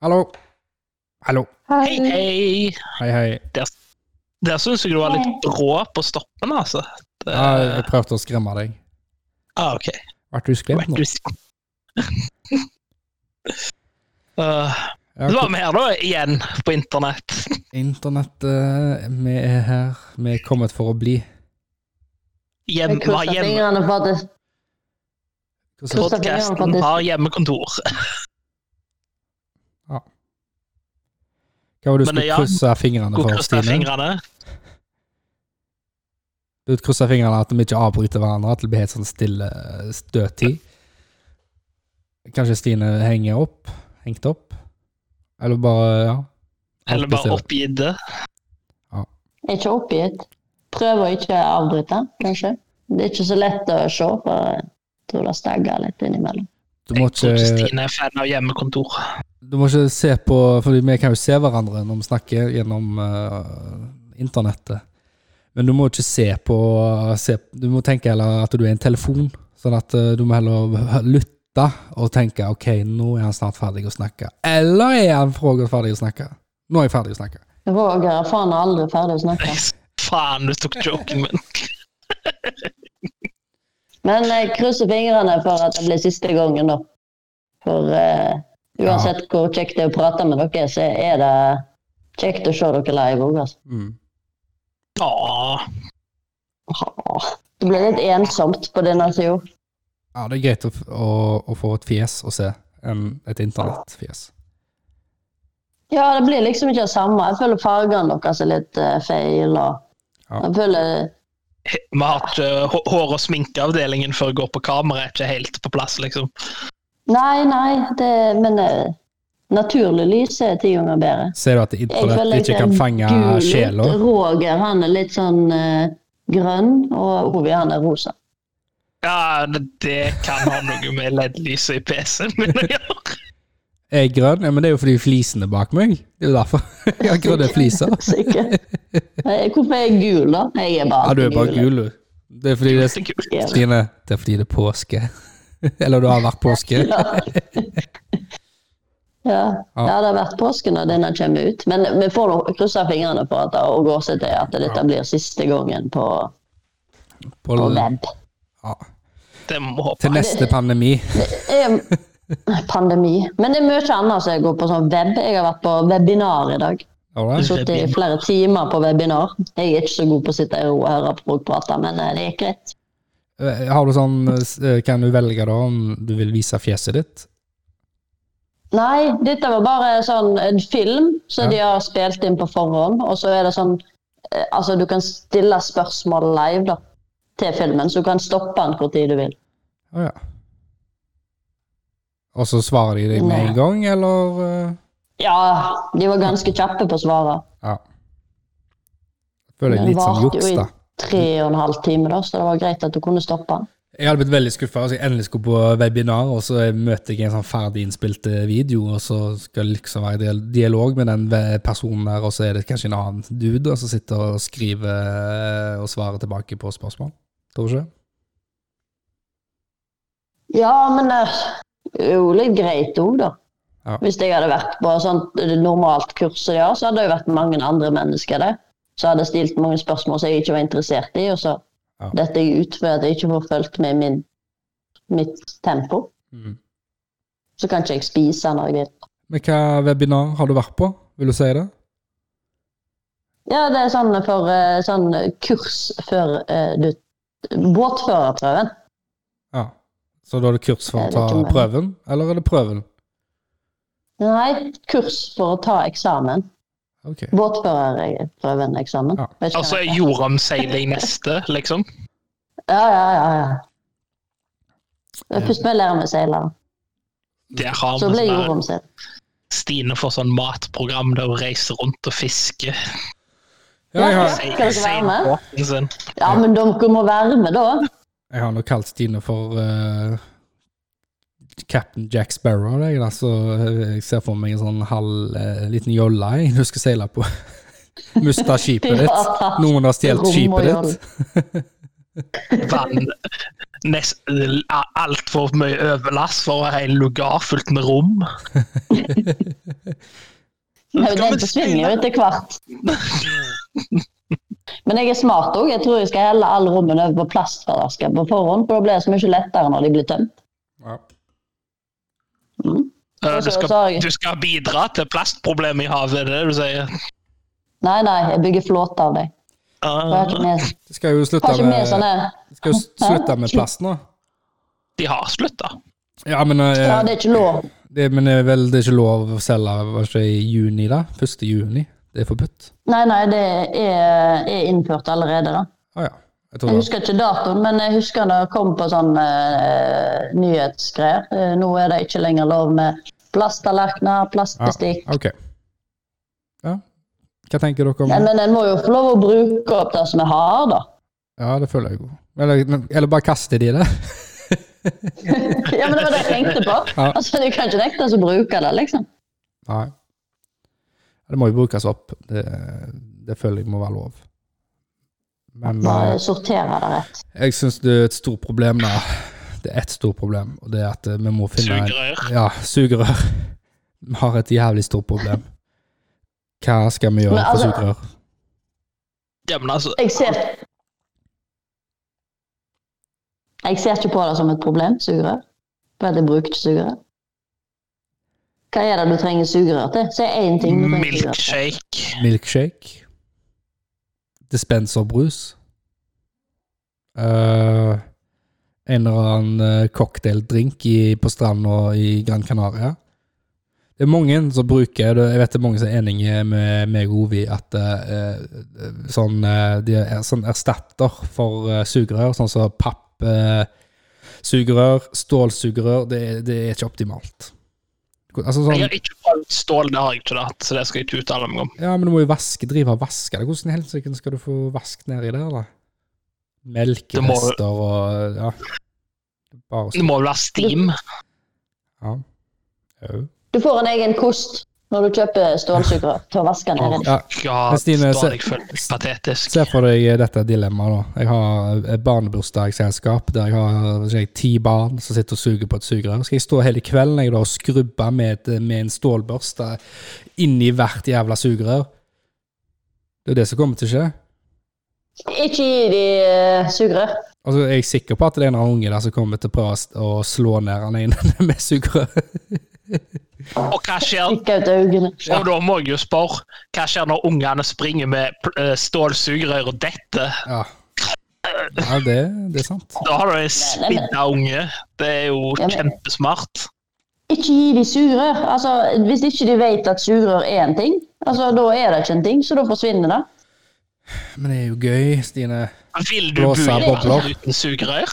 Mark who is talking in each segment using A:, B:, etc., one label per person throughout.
A: Hallo. Hallo.
B: Hei, hei!
A: Hei, hei.
B: Der syns jeg du var litt rå på stoppen, altså. Det,
A: Ja, jeg prøvde å skremme deg.
B: ah, OK.
A: Ble du skremt
B: Vet
A: nå?
B: du uh,
A: Ja,
B: Det var vi her, da, igjen, på internett.
A: Internett, eh, vi er her. Vi er kommet for å bli.
B: Hjem, vi har
C: Kryssa
B: hjem,
C: fingrene for at det
A: Hvordan
C: Krysser
B: podcasten
C: fingrene for
B: har hjemmekontor.
A: Hva var det du
B: Men
A: skulle
B: ja,
A: krysse fingrene
B: Hvor
A: for,
B: krysser
A: Stine?
B: fingrene?
A: Du kryssa fingrene at vi ikke avbryter hverandre, at det blir helt sånn stille støttid. Kanskje Stine henger opp? Hengt opp? Eller bare ja.
B: Eller bare oppgitte.
C: er ikke oppgitt. Prøv å ikke avbryte, kanskje. Det er ikke så lett å se, for jeg tror det stagger litt innimellom.
A: Du må
B: Jeg tror ikke
A: ikke,
B: Stine er fan av hjemmekontor.
A: du må ikke se på Fordi vi kan jo se hverandre når vi snakker gjennom eh, internettet. Men du må ikke se på eh, se, Du må tenke heller at du er en telefon. Sånn at eh, du må heller lytte og tenke ok, nå er han snart ferdig å snakke. Eller er han forhåpentligvis ferdig å snakke? Nå er jeg ferdig å snakke.
C: Roger er faen aldri ferdig å snakke.
B: Faen, du tok joken min.
C: Men jeg krysser fingrene for at det blir siste gangen, da. For eh, uansett hvor kjekt det er å prate med dere, så er det kjekt å se dere live òg, altså.
A: Mm.
B: Åh,
C: Åh, Det blir litt ensomt på denne sida.
A: Ja, det er greit å, f- å, å få et fjes å se enn et internettfjes.
C: Ja, det blir liksom ikke det samme. Jeg føler fargene deres er litt eh, feil. Og...
A: Ja.
C: Jeg føler
B: vi har ikke hå- hår- og sminkeavdelingen før jeg går på kamera, er ikke helt på plass, liksom.
C: Nei, nei, det, men eh, naturlig lys er ti ganger bedre.
A: Ser du at internett ikke kan fange
C: gul ut.
A: sjela?
C: Roger han er litt sånn eh, grønn, og Ovi han er rosa.
B: Ja, det, det kan ha noe med LED-lyset i PC-en min å gjøre.
A: Er jeg grønn? Ja, men det er jo fordi flisen er bak meg. Det er jo derfor. Jeg har grønne fliser.
C: Sikkert. Nei, Hvorfor er jeg gul, da? Jeg er bare
A: Ja, du er bare gul, du. Det er fordi det er
B: Det er kult.
C: Ja.
A: Stine, det er fordi det er påske. Eller du har vært påske.
C: Ja. ja. ja, det har vært påske når denne kommer ut. Men vi får nå krysse fingrene for at det og går seg til at dette blir siste gangen på,
A: På,
C: på web.
A: ja.
B: Det må vi håpe.
A: Til neste pandemi.
C: Jeg, Eh, pandemi. Men det er mye annet som jeg går på sånn web. Jeg har vært på webinar i dag.
A: All right.
C: sittet i flere timer på webinar. Jeg er ikke så god på å sitte i ro og høre på folk prate, men eh, det gikk greit.
A: Eh, Har du sånn eh, Kan du velge da om du vil vise fjeset ditt?
C: Nei, dette var bare sånn en film som
A: Ja.
C: de har spilt inn på forhånd. Og så er det sånn eh, Altså, du kan stille spørsmål live da, til filmen, så du kan stoppe den hvor tid du vil.
A: Å ja. Og så svarer de deg med en gang, eller? eh?
C: Ja, de var ganske kjappe på svaret.
A: Ja. Jeg føler jeg
C: Men
A: litt sånn
C: varte jo
A: juks,
C: i-
A: da.
C: Tre og en halv time, da, så det var greit at du kunne stoppe den.
A: Jeg hadde blitt veldig skuffa hvis jeg endelig skulle på webinar, og så møter jeg en sånn ferdig innspilt eh, video, og så skal det liksom være dial- dialog med den ve- personen der, og så er det kanskje en annen dude da, som sitter og skriver eh, og svarer tilbake på spørsmål. Tror du ikke?
C: Ja, men det er jo litt greit òg, da.
A: Ja.
C: Hvis jeg hadde vært på sånt normalt kurs som de har, så hadde det jo vært mange andre mennesker der. Så hadde jeg stilt mange spørsmål som jeg ikke var interessert i, og så
A: Ja.
C: detter jeg ut fordi at jeg ikke får fulgt med i min, mitt tempo.
A: Mm.
C: Så kan ikke jeg spise når jeg vil.
A: Men hva webinar har du vært på? Vil du si det?
C: Ja, det er sånn for eh, sånn kurs før eh, du Båtførerprøven.
A: Ja. Så da er det kurs for å
C: Jeg vet
A: ta
C: ikke om jeg-
A: prøven, eller er det prøven?
C: Nei, kurs for å ta eksamen.
A: Ok.
C: Båtførerprøven-eksamen.
A: Ja.
C: Vet ikke hva
B: Altså
C: det heter.
B: jordomseiling neste, liksom.
C: Ja, ja, ja. ja. Det er først når jeg lærer meg å seile,
B: Der har
C: så
B: vi
C: blir
B: sånn der-
C: jordomseiling.
B: Stine får sånn matprogram der hun reiser rundt og fisker.
A: Ja, jeg har,
B: Sei-
C: Skal dere
B: seiler
C: være med?
B: båten sin.
C: Ja, men dere må være med, da.
A: Jeg har nok kalt Stine for eh, Captain Jack Sparrow. Jeg, da, så eh, jeg ser for meg en sånn halv eh, liten jolle jeg, du skal seile på. Mista skipet ditt. Noen har stjålet
C: Rom og
A: skipet
C: jolle.
A: ditt.
B: Vann, nest- altfor mye overlass for å ha en lugar fullt med rom.
C: Men
B: Skal
C: den
B: vi
C: forsvinner jo
B: spille?
C: etter hvert. Men jeg er smart òg. Jeg tror jeg skal helle alle rommene over på plastflasker på forhånd, for da blir det så mye lettere når de blir tømt.
A: Ja.
B: Eh, Du
C: Altså,
B: skal,
C: sorry.
B: du skal bidra til plastproblemet i havet, er det det du sier?
C: Nei, nei, jeg bygger flåte av deg. Jeg har ikke
B: Eh,
C: med,
A: Det skal jo slutte
C: har ikke med
A: med,
C: sånne
A: skal jo slutte med plast nå.
B: de har slutta.
A: Ja, men, eh,
C: Ja, det er ikke lov.
A: det, men det er vel det er ikke lov å selge var ikke i juni, da? 1. juni? Det er forbudt?
C: Nei, nei, det er, er innført allerede, da.
A: Å ja. Jeg tror
C: Jeg
A: det.
C: husker ikke datoen, men jeg husker det kom på sånn eh, nyhetsgreier. Eh, nå er det ikke lenger lov med plasttallerkener, plastbestikk.
A: Ja, ok. Ja. Hva tenker dere om
C: Nei, men en må jo få lov å bruke opp det som jeg har, da.
A: Ja, det føler jeg jo. Eller, eller bare kaster de det?
C: Ja, men Det var det jeg tenkte på.
A: Ja.
C: Altså, Du kan ikke nekte oss å bruke det, liksom.
A: Nei. Ja, Det må jo brukes opp. Det, det føler jeg må være lov. Men eh,
C: Bare sortere det rett.
A: jeg syns det er et stort problem da. Det er ett stort problem, og det er at eh, vi må finne en-
B: Sugerør.
A: Ja, sugerør. Vi har et jævlig stort problem. Hva skal vi gjøre
C: Men
A: for
C: altså-
A: sugerør?
B: Ja, men altså,
C: Jeg ser Jeg ser ikke på det som et problem, sugerør. For at jeg bruker ikke sugerør. Hva er det du trenger sugerør til? Si én ting du trenger sugerør til.
B: milkshake.
A: Milkshake. Dispenserbrus. Eh, en eller annen eh, cocktaildrink i, på stranda i Gran Canaria. Det er mange som bruker det- Jeg vet det er mange som er enige med meg og Ovi at eh, eh, sånn, eh, de er sånn erstatter for eh, sugerør, sånn som papp eh, Sugerør, stålsugerør, det, er- det er ikke optimalt. Altså sånn,
B: Jeg har ikke prøvd stål, det har jeg ikke hatt, så det skal jeg ikke uttale meg om.
A: ja, men du må jo vaske, drive og vaske det. Hvordan i helsike skal du få vask nedi der, da?
B: må-
A: Melkerester og Ja. Bare
B: Det
A: så
B: må vel være steam.
A: Ja. Au.
C: Du får en egen kost når du kjøper stålsugerør til å vaske ned i.
A: Ja,
B: Ja,
A: Men Stine, eh, se-
B: da jeg føler meg patetisk.
A: se for deg eh, dette dilemmaet, da. Jeg har et barnebursdagsselskap der jeg har vet ikke jeg, ti barn som sitter og suger på et sugerør. Skal jeg stå hele kvelden jeg, da, og skrubbe med, et, med en stålbørste inni hvert jævla sugerør? Det er jo det som kommer til å skje.
C: Ikke gi de eh, sugerør.
A: Altså, jeg er sikker på at det er en eller annen unge der som kommer til å prøve å s- å slå ned han ene med sugerør.
B: Og hva skjer?
C: Ikke ut øynene.
B: Og da må jeg jo spørre, hva skjer når ungene springer med pl- eh, stålsugerør og detter?
A: Ja. Ja, det, det er sant.
B: Da har du en spidda unge. Det er jo
C: Ja, men-
B: kjempesmart.
C: Ikke gi de sugerør. Altså, hvis ikke de vet at sugerør er en ting, altså, da er det ikke en ting, så da forsvinner det.
A: Men det er jo gøy, Stine.
B: Vil du bo i
A: Blåse
B: en
A: bobler.
B: verden uten sugerør?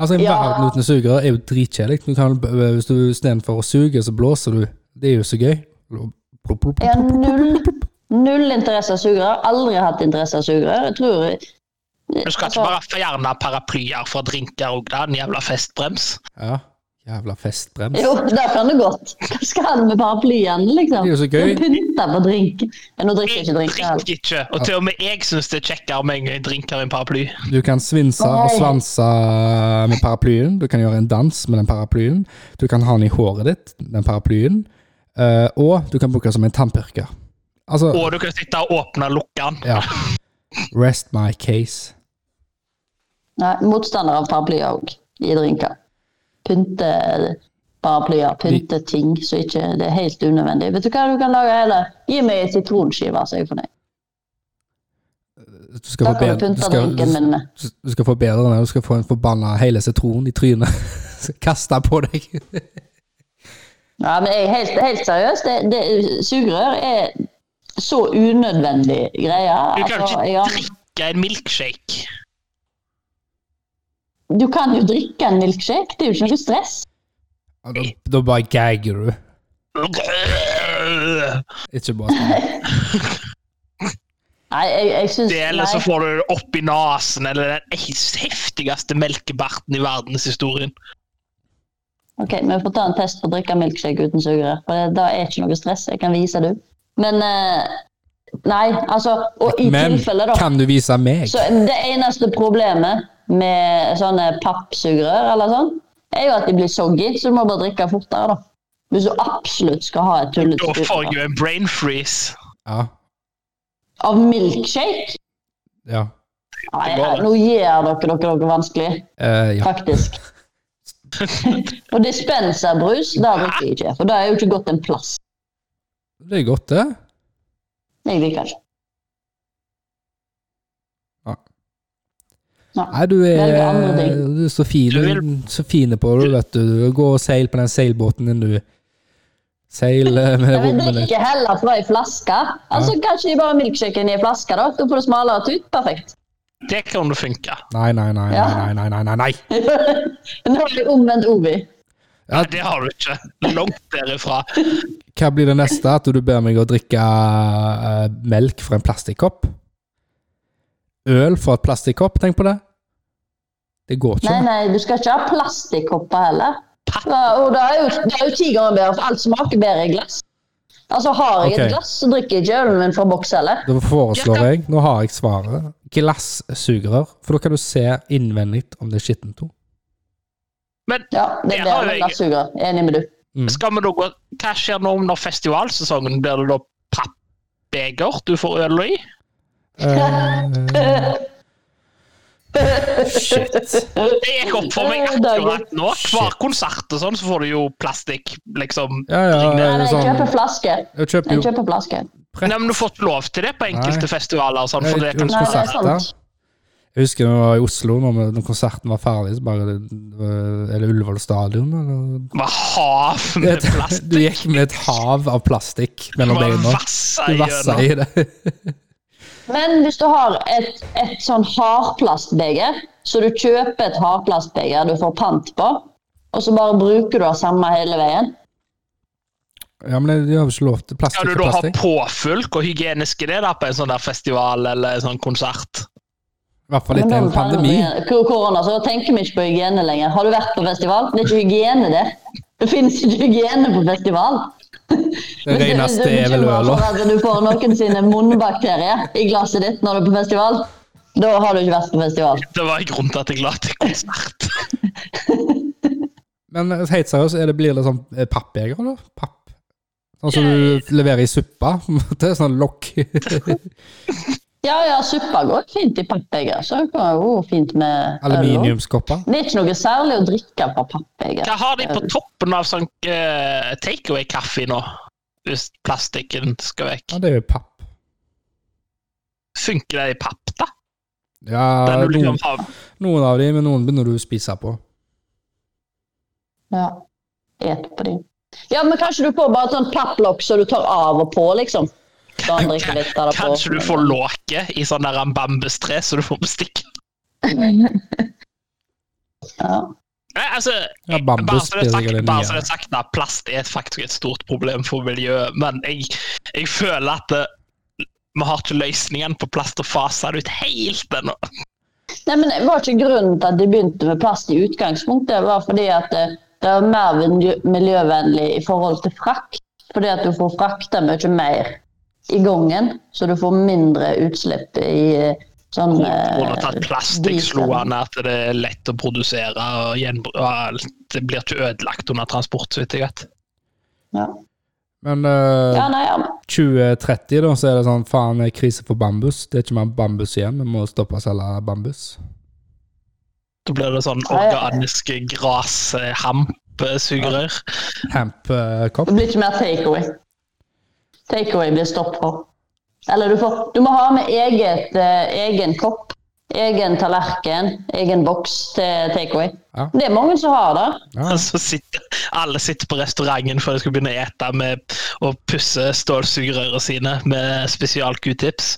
A: Altså, en
C: Ja.
A: verden uten sugerør er jo dritkjedelig. Du kan- Hvis du istedenfor å suge, så blåser du. Det er jo så gøy. Plopp, plopp,
C: Jeg
A: plopp.
C: har null, null interesse av sugerør. Aldri hatt interesse av sugerør. Jeg tror Altså,
B: Du skal ikke bare fjerne paraplyer fra drinker og da, en jævla festbrems.
A: Ja. Jævla festbrems.
C: Jo, det kan du godt. Hva skal han med paraplyen, liksom?
A: Det er jo så gøy.
C: Pynte på drinken. Men nå drikker jeg
B: Jeg
C: ikke drink heller.
B: drikker ikke, og til og med jeg syns det er kjekkere med en drink enn en paraply.
A: Du kan svinse og svanse med paraplyen. Du kan gjøre en dans med den paraplyen. Du kan ha den i håret ditt, den paraplyen. Eh, og du kan bruke den som en tannpirker. Altså
B: Og du kan sitte og åpne og lukke den.
A: Ja. Rest my case.
C: Nei, motstander av paraplyer òg, i drinker. Pynte paraplyer, pynte ting, så ikke det er helt unødvendig. Vet du hva du kan lage heller? Gi meg en sitronskive, så er jeg fornøyd.
A: Du skal,
C: Da
A: få
C: kan du
A: bedre, du,
C: pynte
A: skal,
C: drinken min med.
A: du, du skal få bedre den. Du skal få en forbanna hele sitron i trynet. Kasta på deg.
C: Ja, men jeg, er helt, helt seriøst, det, det, sugerør er så unødvendig greie.
B: Du kan jo
C: Altså,
B: ikke
C: ja,
B: drikke en milkshake.
C: du kan jo drikke en milkshake, det er jo ikke noe stress.
A: Ja, Da, da bare gagger du. Ikke bare sånn.
C: Nei, jeg, jeg syns
B: Det eller så
C: nei,
B: får du det opp i nesen, eller den heftigste melkebarten i verdenshistorien.
C: Ok, men vi får ta en test på å drikke milkshake uten sugerør, for det, da er ikke noe stress. Jeg kan vise det. Men eh, Nei, altså Og i
A: Men
C: tilfelle, da.
A: kan du vise meg?
C: Så det eneste problemet med sånne pappsugerør eller sånn, er jo at de blir soggy, så du må bare drikke fortere, da. Hvis du absolutt skal ha et tullete
B: Da får jeg
C: stup, da.
B: jo en brain freeze.
A: Ja.
C: Av milkshake?
A: Ja.
C: Nei,
B: går
C: nei,
B: det.
C: nå gjør dere dere dere vanskelig,
A: Eh, ja.
C: faktisk. Og dispenserbrus, det drikker jeg ikke, for det er jo ikke gått en plass.
A: Det er godt, det.
C: Jeg liker ikke.
A: Nei, du
C: Velg andre
A: er,
C: ting.
A: du er så fin
B: Du vil-
A: så fine på det, vet du. Du Gå og seil på den seilbåten din, du. Seil eh, med
C: Jeg vil
A: rommet ditt.
C: drikke heller fra ei flaske. Altså, Kanskje de bare milkshaken i ei flaske, da. Da får du smalere tut. Perfekt.
B: Det kan jo funke.
A: Nei, nei, nei, nei,
C: Ja.
A: nei, nei, nei, nei.
C: Nå har vi omvendt Ovi.
A: Ja.
B: Nei, det har du ikke. Langt derifra.
A: Hva blir det neste? At du ber meg å drikke eh, melk fra en plastikkopp? Øl fra et plastikkopp, tenk på det. Det går
C: Nei,
A: ikke.
C: nei, du skal ikke ha plastikkopper heller. Ja, og det er jo, det er jo ti ganger bedre, for alt smaker bedre i glass. Altså, Har jeg
A: Ok.
C: et glass, så drikker jeg ikke ølen min fra boks heller.
A: Da foreslår jeg, nå har jeg svaret, glassugerør. For da kan du se innvendig om det er skittent. også.
B: Men
C: Ja, det
B: Det
C: er
B: har
C: bedre
B: jeg.
C: enn glasssugerør. Enig med du.
B: skal vi da gå Hva skjer nå når festivalsesongen? Blir det da pappbeger du får øl i?
A: Eh, shit.
B: Det gikk opp for meg
C: Eh, det er
B: akkurat nå. Hver
A: Shit.
B: konsert og sånn, så får du jo plastikk, liksom.
A: Ja, ja,
B: Nei,
A: er
C: Nei,
A: det
C: jeg
A: sånn
C: kjøper flaske.
A: Jeg kjøper
C: Jeg
A: jo
C: kjøper flaske.
A: Rett.
B: Nei, men du får ikke lov til det på enkelte
A: Nei.
B: festivaler og sånn, for det
A: Jeg
B: kan
C: Nei, det
A: husker
C: er sant.
A: konserter. Jeg husker når vi var i Oslo, når, vi, når konserten var ferdig, så bare øh, Er det Ullevål stadion, eller?
B: være hav med
A: Et,
B: plast.
A: du gikk med et hav av plastikk
B: Du
A: mellom
B: bare
A: beina.
B: vasser
A: Du vassa i
B: gjennom.
A: det.
C: Men hvis du har et, et sånn hardplastbeger, så du kjøper et hardplastbeger du får pant på, og så bare bruker du det samme hele veien
A: Ja, men jeg- de har jo ikke lov til
B: Skal
A: plastikk
B: du
A: og
B: da ha
A: plastikk.
B: påfyll? Hvor hygienisk er det da på en sånn der festival eller en sånn konsert?
A: I hvert fall etter
C: Men
A: en
C: da-
A: pandemi.
C: Kor- Korona, så tenker vi ikke på hygiene lenger. Har du vært på festival? Det er ikke hygiene, det. Det finnes ikke hygiene på festival.
A: Det reneste er vel øla.
C: øla. Du får noen sine munnbakterier i glasset ditt når du er på festival. Da har du ikke vært på festival.
B: Det var en grunn til at jeg la til konsert.
A: Men eh, helt seriøst, er det, blir det sånn eh, pappbeger, eller? Papp? Sånn som du leverer i suppa? på en måte, Sånn lokk?
C: Ja, ja, suppa går fint i pappbeger, så det går jo fint med øl også.
A: Aluminiumskopper?
C: Det er ikke noe særlig å drikke på pappbeger.
B: Hva har de på toppen av sånn eh, takeaway-kaffe nå? Hvis plastikken skal vekk.
A: Ja, det er jo papp.
B: Funker det i papp, da?
A: Ja,
B: Den du
A: noen,
B: liksom har
A: noen av de, men noen begynner du å spise på.
C: Ja. Et på de. Ja, men kanskje du får bare et sånt papplokk så du tar av og på, liksom. Så han drikker litt av det sånn på.
B: Kanskje du får låke i sånn der en bambustre, så du får bestikk.
C: Ja.
B: Nei, altså,
A: Ja,
B: bare
A: bambus
B: så det er
A: blir
B: sagt,
A: det
B: bare så det
A: nye.
B: er sagt da, plast er et- faktisk et stort problem for miljøet, men jeg, jeg føler at det, vi har ikke løsningen på plast og fase det ut helt ennå.
C: Nei, men det var ikke grunnen til at de begynte med plast i utgangspunktet. Det var fordi at det, det var mer miljø- miljøvennlig i forhold til frakt. Fordi at du får frakta mye mer i gangen, så du får mindre utslipp i eh, sånn
B: Hvordan tatt
C: eh,
B: plast jeg slo an at det er lett å produsere og gjenbru- og alt. Det blir ikke ødelagt under transport, så vidt jeg vet.
C: ja.
A: Men eh,
C: ja, nei, ja.
A: 2030, da, så er det sånn faen, det er krise for bambus. Det er ikke mer bambus igjen. Vi må stoppe å selge bambus.
B: Da blir det sånn eh,
C: Ja, ja.
B: organiske grashamp-sugerør.
A: Hamp-kopp.
C: Det blir ikke mer takeaway. Takeaway blir stopp for. Eller du får Du må ha med eget, eh, egen kopp, egen tallerken, egen boks til takeaway.
A: Ja.
C: Det er mange som har det.
A: Ja.
B: Og Så sitter, alle sitter på restauranten før de skal begynne å ete med å pusse stålsugerørene sine med spesial Q-tips.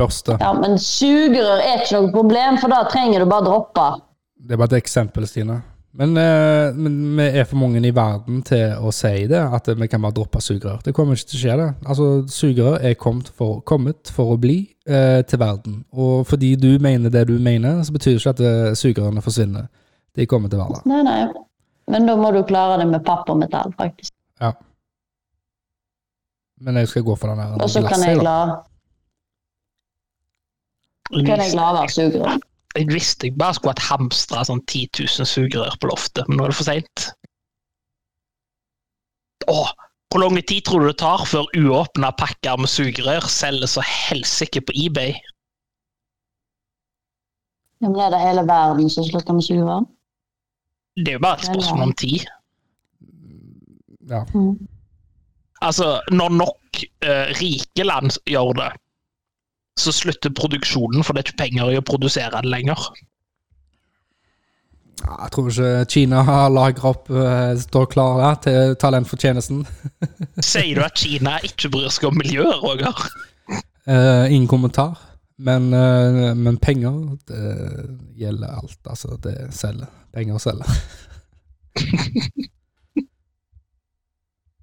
A: Børste.
C: Ja, men sugerør er ikke noe problem, for da trenger du bare droppe.
A: Det er bare et eksempel, Stine. Men, eh, men vi er for mange i verden til å si det, at vi kan bare droppe sugerør. Det kommer ikke til å skje, det. Altså, Sugerør er kommet for, kommet for å bli eh, til verden. Og fordi du mener det du mener, så betyr det ikke at eh, sugerørene forsvinner. De kommer til verden.
C: Nei, nei. Men da må du klare det med papp og metall, faktisk.
A: Ja. Men jeg skal gå for den der
C: Og så kan
A: glasset,
C: jeg
A: da.
C: la, kan jeg la være sugerør.
B: Jeg visste jeg bare skulle hatt hamstra sånn 10 000 sugerør på loftet, men nå er det for seint. Åh, hvor lang tid tror du det tar før uåpna pakker med sugerør selges så helsike på eBay?
C: Ja, men er det hele verden som slutter med sugerør?
B: Det er jo bare et spørsmål om tid.
A: Ja.
C: Mm.
B: Altså, når nok eh, rike land gjør det, så slutter produksjonen, for det er ikke penger i å produsere det lenger.
A: Ja, Jeg tror ikke Kina har lagra opp eh, står klar der til talentfortjenesten.
B: Sier du at Kina ikke bryr seg om miljøet, Roger?
A: Eh, ingen kommentar. Men, eh, men penger det gjelder alt. Altså, det selger. Penger selger.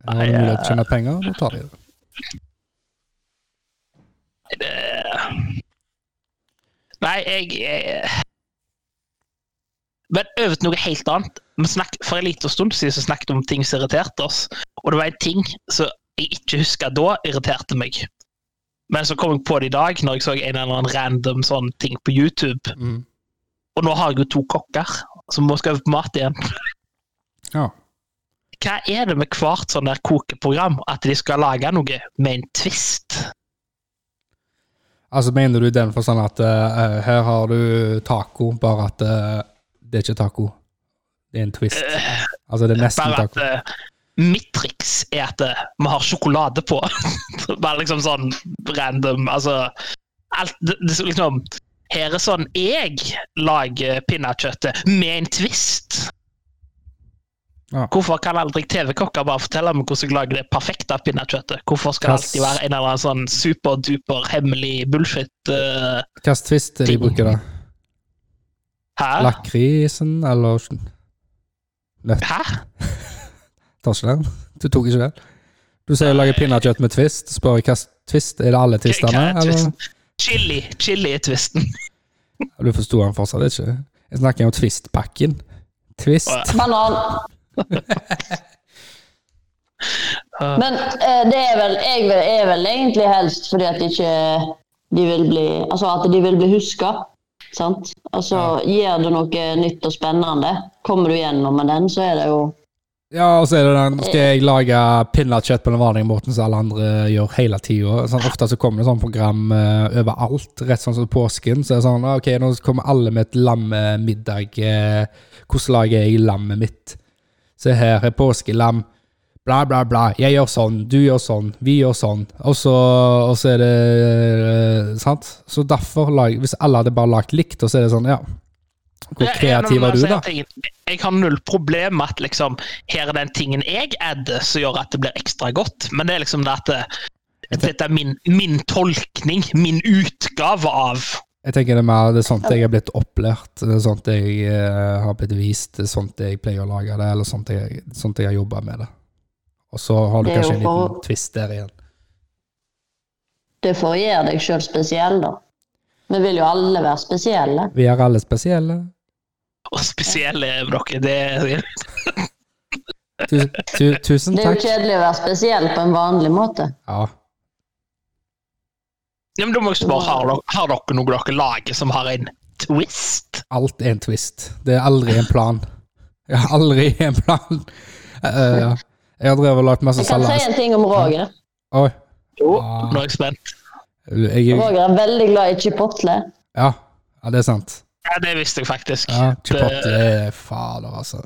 A: Har du
B: eh,
A: mulighet til å tjene penger, da tar de det.
B: Nei, jeg, jeg Men over til noe helt annet. Vi snakk, for en liten stund siden så snakket vi om ting som irriterte oss. Og det var en ting som jeg ikke huska da, irriterte meg. Men så kom jeg på det i dag, når jeg så en eller annen random sånn ting på YouTube.
A: Mm.
B: Og nå har jeg jo to kokker, så vi skal øve på mat igjen.
A: Ja.
B: Hva er det med hvert sånn der kokeprogram at de skal lage noe med en twist?
A: Altså, mener du i den forstand at eh, her har du taco, bare at eh, det er ikke taco. Det er en twist. Altså, det er nesten
B: Eh, Bare at
A: taco.
B: eh, mitt triks er at eh, vi har sjokolade på. Bare liksom sånn random Altså alt, det, det, er liksom, Her er sånn jeg lager pinnekjøttet med en twist.
A: Ja.
B: Hvorfor kan aldri TV-kokker bare fortelle meg hvordan jeg lager det perfekte pinnekjøttet? Hvorfor skal det alltid være en eller annen sånn superduper hemmelig bullshit? eh,
A: Hvilken twist er det de bruker da?
B: her?
A: Lakrisen, eller
B: Hæ?
A: Tar ikke den? Du tok ikke den? Du sier å lage pinnekjøtt med twist. Spør jeg hva s- twist Er det alle twistene?
B: Hva er
A: Eller?
B: twisten? Chili. Chili er twisten.
A: Du forsto han fortsatt ikke? Jeg snakker om twist-pakken. Twist.
B: Å, ja.
C: Banan. Men eh, det er vel, jeg vil, er vel egentlig helst fordi at ikke de vil bli Altså at de vil bli huska. Sant? Altså, Gjør du noe nytt og spennende, kommer du gjennom med den, så er det jo
A: Ja, og så er det den Skal jeg lage pinnekjøtt på den vanlige måten som alle andre gjør hele tida? Sånn, ofte så kommer det sånn program eh, overalt, rett sånn som påsken. Så er det sånn ah, Ok, nå kommer alle med et lammemiddag. eh, Hvordan lager jeg lammet mitt? Se her er påskelam. Bla, bla, bla. Jeg gjør sånn, du gjør sånn, vi gjør sånn. Og så, og så er det eh, Sant? Så derfor, lag, hvis alle hadde bare lagd likt, og så er det sånn, ja Hvor
B: Ja, ja, men
A: kreativ
B: man
A: er du,
B: sier
A: da?
B: at Jeg, jeg har null problem med at liksom, her er den tingen jeg adder som gjør at det blir ekstra godt, men det er liksom det at det, dette er min, min tolkning, min utgave av
A: Jeg tenker det er mer det er sånt jeg er blitt opplært, det er sånt jeg eh, har blitt vist, det er sånt jeg pleier å lage det, eller sånt jeg, sånt jeg har jobba med det. Og så har du
C: Det er
A: kanskje en
C: jo for-
A: liten twist der igjen.
C: Det får gjøre deg sjøl spesiell, da. Vi vil jo alle være spesielle.
A: Vi er alle spesielle.
B: og spesielle med dere. Det,
A: Tu, tu, tusen
C: Det
A: Mm,
C: er jo
A: takk.
C: kjedelig å være spesiell på en vanlig måte.
A: Ja.
B: ja, men da må jeg spørre, har dere, har dere noe dere lager som har en twist?
A: Alt er en twist. Det er aldri en plan. Jeg har aldri en plan. Eh, jeg har drevet og lagd masse
C: Jeg kan si
A: salat.
C: en ting om Roger.
A: Oi.
B: Jo.
A: Ah.
B: Nå er jeg spent.
A: Jeg, ja.
C: Roger er veldig glad i chipotle.
A: ja, det er sant.
B: Ja, det visste jeg faktisk.
A: Ja, Chipotle er fader, altså.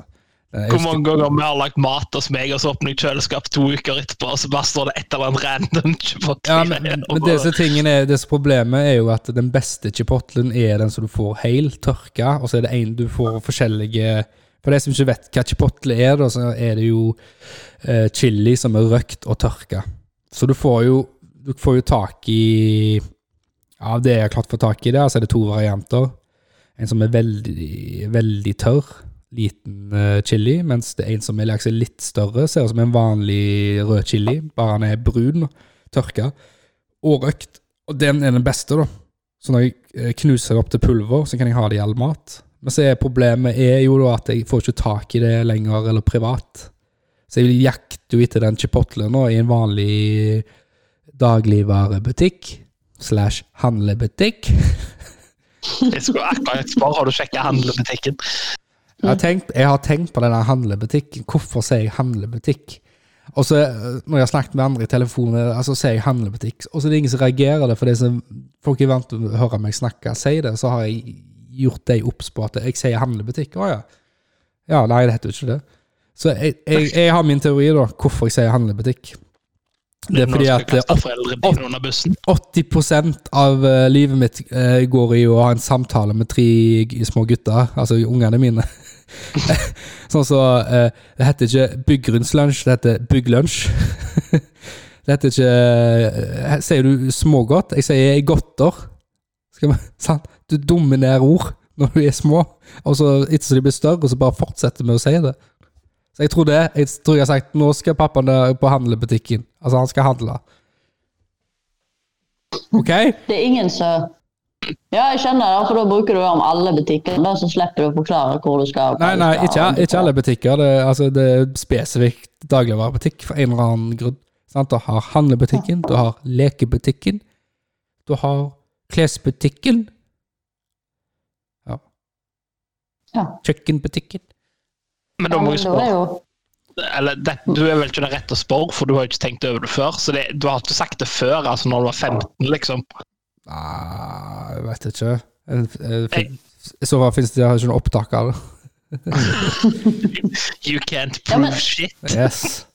A: Jeg
B: Hvor
A: husker-
B: mange ganger vi har lagt mat hos meg, og så åpner jeg kjøleskap to uker etterpå, og så bare står det et eller annet random chipotle
A: Ja, men,
B: igjen, og
A: men
B: bare-
A: det som tingen er, det som problemet er jo at den beste chipotlen er den som du får hel, tørka, og så er det en du får forskjellige For de som ikke vet hva chipotle er, da, så er det jo eh, chili som er røkt og tørka. Så du får jo, du får jo tak i Av det jeg har klart å få tak i der, så er det to varianter. En som er veldig, veldig tørr, liten eh, chili, mens det er en som er liksom litt større, ser ut som en vanlig rød chili, bare han er brun, tørka og røkt. Og den er den beste, da. Så når jeg eh, knuser det opp til pulver, så kan jeg ha det i all mat. Men så er problemet er jo da at jeg får ikke tak i det lenger, eller privat. Så jeg jakter jo etter den chipotlen nå i en vanlig dagligvarebutikk slash handlebutikk.
B: Jeg skulle akkurat spørre, har du sjekket handlebutikken?
A: Jeg har, tenkt, jeg har tenkt på denne handlebutikken. Hvorfor sier jeg handlebutikk? Og så eh, Når jeg har snakket med andre i telefonen, altså sier jeg handlebutikk, og så er det ingen som reagerer det, for det som folk er vant til å høre meg snakke, si det, så har jeg gjort dem obs på at jeg sier handlebutikk. Å ja. Ja, nei, det heter jo ikke det. Så jeg, jeg, jeg har min teori, da, hvorfor jeg sier handlebutikk. Det er
B: Når
A: fordi
B: du skal
A: at eh,
B: kaste foreldrebilen under bussen.
A: 80 av eh, livet mitt eh, går i å ha en samtale med tre g- små gutter, altså ungene mine. sånn så eh, Det heter ikke byggrunnslunsj, det heter bygglunsj. det heter ikke eh, Sier du smågodt? Jeg sier godter. Skal vi, sant? Du dominerer ord når du er små, og så etter som de blir større, og så bare fortsetter med å si det. Så jeg tror det. Jeg tror jeg har sagt nå skal pappaen der på handlebutikken. Altså, han skal handle. Ok?
C: Det er ingen som Ja, jeg skjønner det, for da bruker du det om alle butikker. Da så slipper du å forklare hvor du skal. og hva
A: Nei,
C: du
A: nei,
C: skal,
A: ikke,
C: og-
A: ikke alle butikker. Det, er- altså, det er spesifikt dagligvarebutikk for en eller annen grunn. Sant? Du har handlebutikken, du har lekebutikken, du har klesbutikken Ja.
C: Ja.
A: Kjøkkenbutikken.
B: Men da må jeg
C: Ja, men da er
B: spørre.
C: jo-
B: Eller, det, du er vel ikke den rette å spørre, for du har jo ikke tenkt over det før. Så det, du har ikke sagt det før, altså når du var 15, liksom.
A: Nei, Ah, jeg vet ikke. En- en-
B: Jeg-
A: I så fall finnes det jeg har ikke noe opptak av det.
B: You can't
C: Ja,
B: prove
C: men-
B: shit.
A: Yes.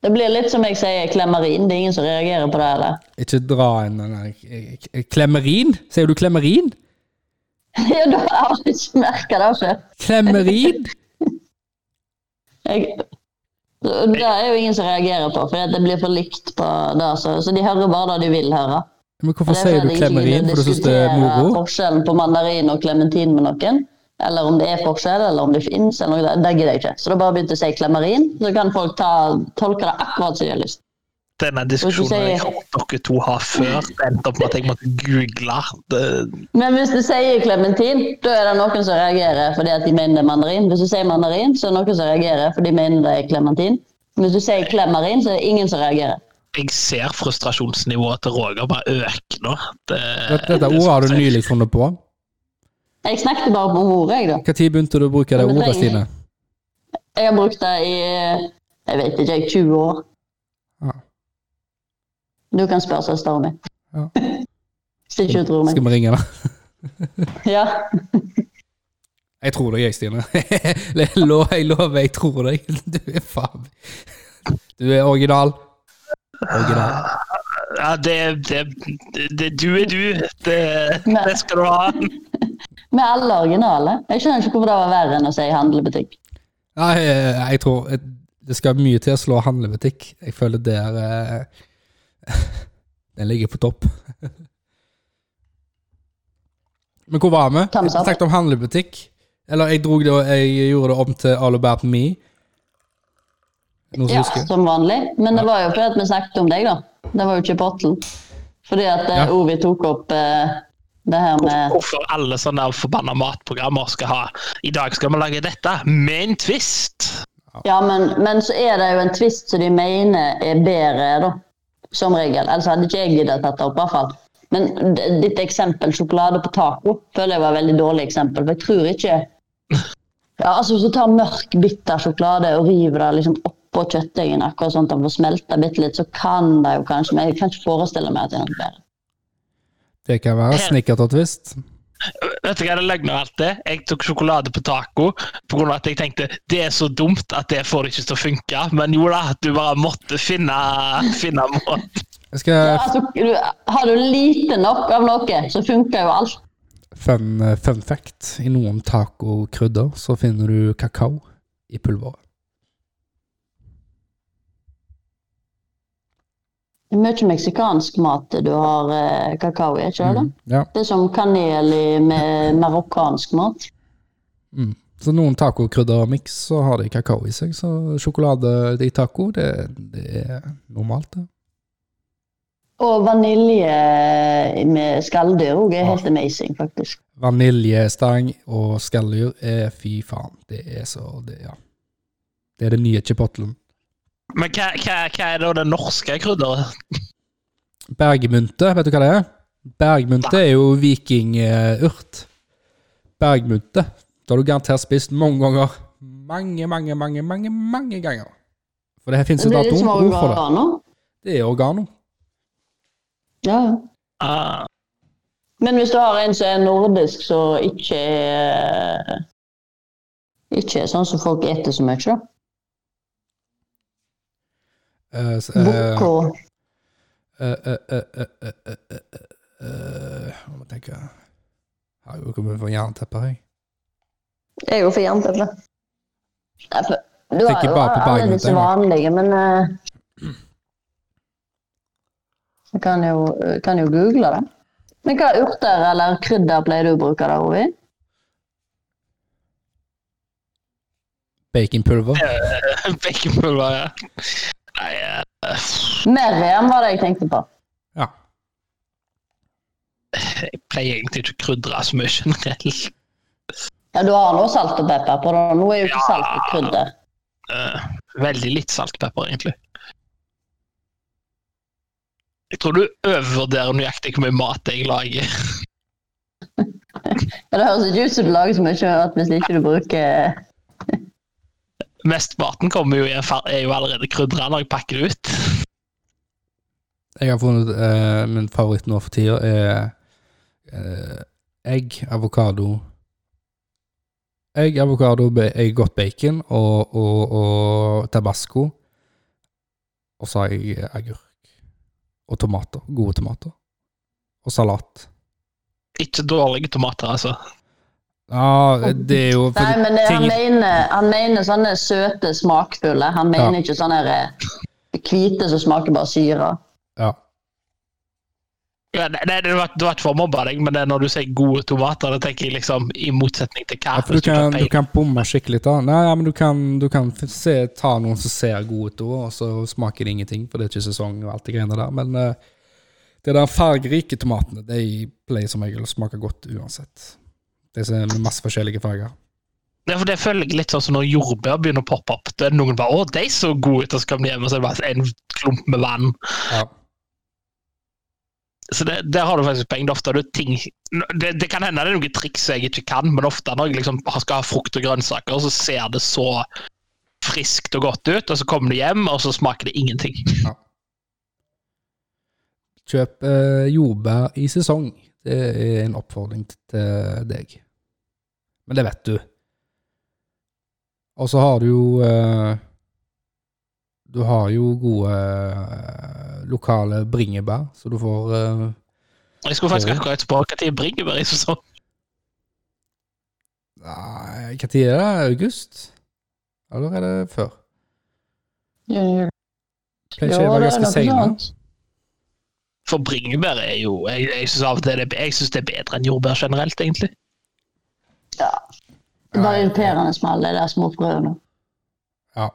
C: Det blir litt som jeg sier klemmerin. Det er ingen som reagerer på det heller.
A: Ikke dra inn den der Klemmerin? Sier du klemmerin?
C: Ja, da har jeg ikke merka det altså. før.
A: Klemmerin?
C: Jeg, det er jo ingen som reagerer på, for det blir for likt på det. altså. Så, så de hører bare det de vil høre.
A: Men hvorfor
C: Det er
A: sier du
C: fordi jeg ikke
A: klemmerin?
C: gidder
A: For du syns det er
C: diskutere
A: moro?
C: Forskjellen på mandarin og klementin med noen. Eller om det er forskjell, eller om det fins. eller noe, Det det gidder jeg ikke. Så da bare begynte jeg å si klemmerin, så kan folk ta, tolke det akkurat som de har lyst.
B: Denne diskusjonen jeg har hørt dere to ha før, det endte opp med at jeg måtte google. Det,
C: Men hvis du sier klementin, da er det noen som reagerer fordi at de mener det er mandarin. Hvis du sier mandarin, så er det noen som reagerer fordi de mener det er klementin. Hvis du sier klemmerin, så er det ingen som reagerer.
B: jeg ser frustrasjonsnivået til Roger bare øke nå. Det,
A: Dette, dette ordet har du nylig funnet på.
C: Jeg snakket bare om ordet, jeg, da.
A: Når begynte du å bruke det
C: Ja, men
A: ordet,
C: det er
A: Stine?
C: ingen- Jeg har brukt det i jeg vet ikke, jeg 20 år.
A: Ja.
C: Du kan spørre søsteren min.
A: Ja.
C: Hvis ikke hun tror meg.
A: Skal vi ringe henne?
C: Ja.
A: Jeg tror deg, jeg, Stine. Jeg lo- jeg lover, jeg tror deg. Du er faen Du er original. Original.
B: Ja, det, det, det, det Du er du. Det,
C: Nei.
B: det skal du ha.
C: Vi er alle originale. Jeg skjønner ikke hvorfor det var verre enn å si handlebutikk.
A: Nei, eh, jeg tror eh, det skal mye til å slå handlebutikk. Jeg føler der eh, Den ligger på topp. Men hvor var vi? Jeg
C: Thumbs up.
A: snakket om handlebutikk. Eller jeg, drog det, og jeg gjorde det om til All About Me. Noen som
C: Ja,
A: husker?
C: som vanlig. Men det var jo fordi at vi snakket om deg, da. Det var jo ikke potten. Fordi at eh,
A: Ja.
C: Ovi tok opp eh, det her med
B: Hvorfor alle sånne forbanna matprogrammer skal ha I dag skal vi lage dette med en twist.
C: Ja, men, men så er det jo en tvist som de mener er bedre, da. Som regel. Ellers hadde ikke jeg giddet tatt det opp, i hvert fall. Men d- ditt eksempel, sjokolade på taco, føler jeg var et veldig dårlig eksempel. For jeg tror ikke Ja, altså Hvis du tar mørk, bitter sjokolade og river det liksom oppå kjøttdeigen, akkurat sånn at den får smelta bitte litt, så kan det jo kanskje Men jeg kan ikke forestille meg at det er noe bedre.
A: Det kan være snickertott-twist.
B: Vet du hva det løgner alt det? Jeg tok sjokolade på taco pga. at jeg tenkte det er så dumt at det får det ikke til å funke. Men jo da, du bare måtte finne, finne en måte.
A: Jeg skal
C: Ja, altså, du, har du lite nok av noe, så funker jo alt.
A: fun, eh, fun fact. I noen tacokrydder så finner du kakao i pulveret.
C: Det er mye meksikansk mat du har eh, kakao i, ikke det?
A: Mm. Ja.
C: Det er som kanel i med marokkansk mat.
A: Mm. Så noen tacokrydder og miks, så har de kakao i seg. Så sjokolade i taco, det, det er normalt, det.
C: Og vanilje med skalldyr òg er
A: Ah.
C: helt amazing, faktisk.
A: Vaniljestang og skalldyr er fy faen. Det er så det, ja. Det er det nye chipotlen.
B: Men hva, hva, hva er da det norske krydderet?
A: Bergmynte, vet du hva det er? Bergmunte er jo vikingurt. Bergmunte. Det har du garantert spist mange ganger. Mange, mange, mange, mange mange ganger. For det liksom her finnes
C: Det
A: jo
C: blir
A: et annet
C: litt som
A: ord for det.
C: oregano.
A: Det er oregano.
C: Ja. ja.
B: Ah,
C: Men hvis du har en som er nordisk, så ikke er Ikke er sånn som folk eter så mye, da.
A: Eh, s- eh,
C: Bukk og
A: eh, eh, eh, eh, eh, eh, eh, eh, Nå må jeg tenke Har jo kommet for jernteppe, jeg.
C: Jeg er jo for jernteppe. Ja, for- Du
A: Tenker
C: jo
A: bare på
C: alle
A: Bergmøtet,
C: disse
A: jeg, da.
C: vanlige, men eh, Jeg kan jo, kan jo google det. Men hva urter eller krydder pleier du å bruke da, Ovi?
A: Baconpulver.
B: Baconpulver, ja. Nei, eh,
C: Merriam var det jeg tenkte på.
A: Ja.
B: jeg pleier egentlig ikke å krydre så mye generelt.
C: Ja, Du har nå salt og pepper på det. Nå er jo ikke salt og krydder.
B: Eh, veldig litt salt og pepper, egentlig. Jeg tror du overvurderer nøyaktig hvor mye mat jeg lager.
C: Ja, Det høres ikke ut som du lager så mye at hvis ikke du bruker
B: Mesteparten kommer jo i en fer- er jo allerede krydra når jeg pakker det ut.
A: Jeg har funnet eh, min favoritt nå for tida er eh, egg, avokado Egg, avokado, ba- eh, godt bacon og, og, og tabasco. Og så har jeg agurk. Og tomater. Gode tomater. Og salat.
B: Ikke dårlige tomater, altså.
A: Ja, det er jo
C: Nei,
A: fordi
C: men det, han,
A: ting-
C: mener, han mener sånne søte, smakfulle. Han mener
A: Ja.
C: ikke sånne her, eh, hvite som smaker bare syre.
A: ja.
B: Ja, nei, nei, det, var, det var ikke for å mobbe deg, men det er når du sier gode tomater, da tenker jeg liksom i motsetning til hva.
A: Ja, for du
B: hvis ikke har
A: kan, du
B: peiling.
A: kan bomme skikkelig da. Nei, ja, men du kan, du kan f- se, ta noen som ser gode ut, og så smaker det ingenting, for det er ikke sesong og alt det greiene der. Men eh, det der fargerike tomatene, de pleier som regel å smake godt uansett. Det som er med masse forskjellige farger.
B: Ja, for Det føler jeg litt sånn som når jordbær begynner å poppe opp. Da er det noen bare 'Å, de så gode ut', og så kommer de hjem og så er det bare en klump med vann.
A: Ja.
B: Så det, Der har du faktisk poeng. Det, er ofte du ting, det, det kan hende det er noen triks jeg ikke kan, men ofte når jeg liksom skal ha frukt og grønnsaker, så ser det så friskt og godt ut, og så kommer det hjem, og så smaker det ingenting.
A: Kjøp eh, jordbær i sesong. Det er en oppfordring til deg. Men det vet du. Og så har du jo eh, Du har jo gode eh, lokale bringebær, så du får eh,
B: Jeg skulle faktisk
A: Ja.
B: akkurat spørre når bringebær er i sesong.
A: Nei, hva tid er det? August? Eller er det før?
C: Jo,
A: Pleier ikke å være ganske seine.
B: For bringebær er jo Jeg, jeg syns av og til det, er- jeg synes det er bedre enn jordbær generelt, egentlig.
C: Ja. Det er bare irriterende med alle de der små frøene.
A: Ja.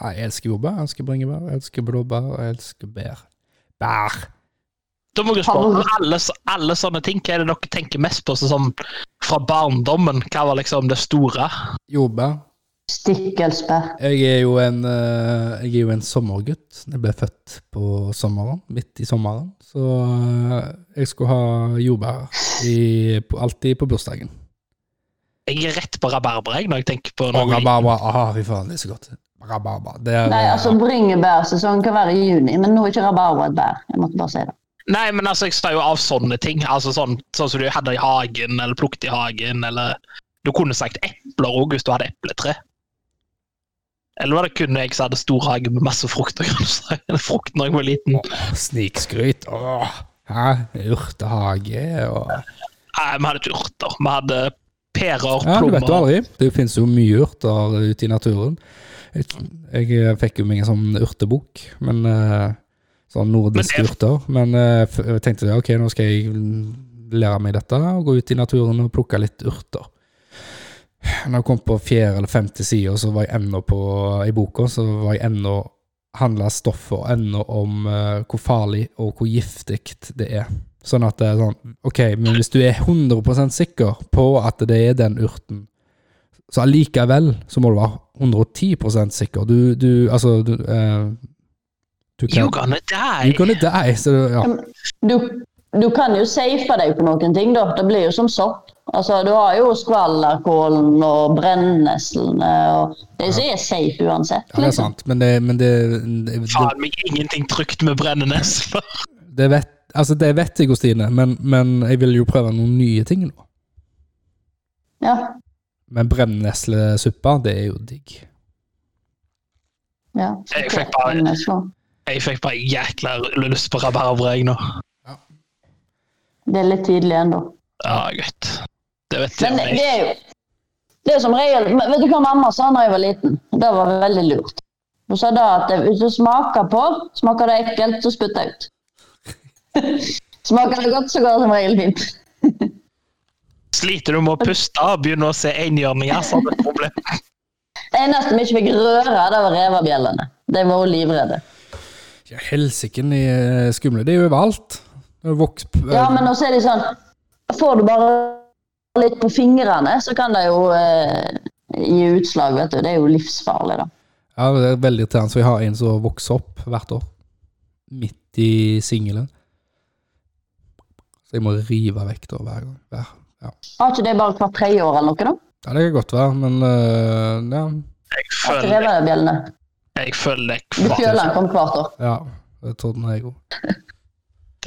A: Ja, Jeg elsker jordbær, jeg elsker bringebær, jeg elsker blåbær, jeg elsker bær. Bær!
B: Da må jeg spørre alle, så- alle sånne ting. Hva er det dere tenker mest på så sånn fra barndommen? Hva var liksom det store?
A: Jordbær.
C: Stikkelsbær.
A: Jeg er jo en, eh, jeg er jo en sommergutt. Jeg ble født på sommeren, midt i sommeren. Så eh, jeg skulle ha jordbær i, på, alltid på bursdagen.
B: Jeg er rett på rabarbra jeg, når jeg tenker på
A: Og
B: noe.
A: rabarbra. Ah, fy faen, det er så godt. Rabarbra. Det er,
C: Nei,
A: eh,
C: altså bringebærsesong kan være i juni, men nå er ikke rabarbra et bær. Jeg måtte bare si det.
B: Nei, men altså, jeg sa jo av sånne ting. Altså sånn, sånn som du hadde i hagen, eller plukket i hagen, eller Du kunne sagt epler òg, hvis du hadde epletre. Eller var det kun jeg som hadde stor hage med masse frukt og grønnsaker? Eller Frukt når jeg var liten.
A: ah, Snikskryt. Åh. Hæ? Urtehage og
B: Nei, vi hadde ikke urter. Vi hadde pærer,
A: Ja, du vet jo
B: plommer
A: aldri. Det finnes jo mye urter ute i naturen. Jeg, jeg fikk jo meg en sånn urtebok, men eh, sånn nordiske
B: Men
A: urter. Men eh, f- jeg tenkte ja, ok, nå skal jeg lære meg dette og gå ut i naturen og plukke litt urter. Når jeg kom på fjerde eller femte side, så var jeg ennå på i boka, så var jeg ennå handla stoffer ennå om eh, hvor farlig og hvor giftig det er. Sånn at det er sånn Ok, men hvis du er 100 sikker på at det er den urten, så allikevel så må du være 110 sikker. Du, du Altså, du eh, Du
B: You're gonna die!
A: You gonna die, så du- ja.
C: Du, Du kan jo safe deg på noen ting, da. Det blir jo som sopp. Altså, du har jo skvallerkålen og brenneslene og Det som er safe uansett.
A: Ja,
C: liksom.
A: det er sant, men det, men det, det, det,
B: Faen meg ingenting trygt med brennende nesler.
A: det, vet, altså det vet jeg jo, Stine, men, men jeg vil jo prøve noen nye ting nå.
C: Ja.
A: Men brenneslesuppa, det er jo digg.
C: ja. Sånn
B: Jeg fikk bare-
C: Brennesler.
B: Jeg fikk bare jækla lyst på rabarbra, jeg nå.
C: Det er litt tidlig ennå.
B: Ja, greit. Det vet jeg.
C: Men
B: men
C: det
B: jeg-
C: er jo det er som regel, men Vet du hva mamma sa da jeg var liten? Det var veldig lurt. Hun sa da at hvis du smaker på, smaker det ekkelt, så spytt det ut. smaker det godt, så går det som regel fint.
B: Sliter du med å puste og begynner å se enhjørninger, så har du et problem.
C: Det eneste vi ikke fikk røre, det var revebjellene. De var hun livredde.
A: Ja, helsiken i eh, skumle. Det er jo overalt. Det er Voks...
C: Ja, men nå er de sånn Får du bare litt på fingrene, så kan det jo eh, gi utslag, vet du. Det er jo livsfarlig, da.
A: Ja, det er veldig irriterende. Så vi har en som vokser opp hvert år. Midt i singelen. Så jeg må rive vekk da hver gang. Hver. Ja.
C: Har ikke det bare hvert tredje år eller noe, da?
A: ja, det kan godt være, men eh, ja.
B: Jeg
C: At
B: føler
C: Revebjellene.
B: jeg føler jeg kvatt
C: Fjølen kom hvert år.
A: ja. Det trodde jeg òg.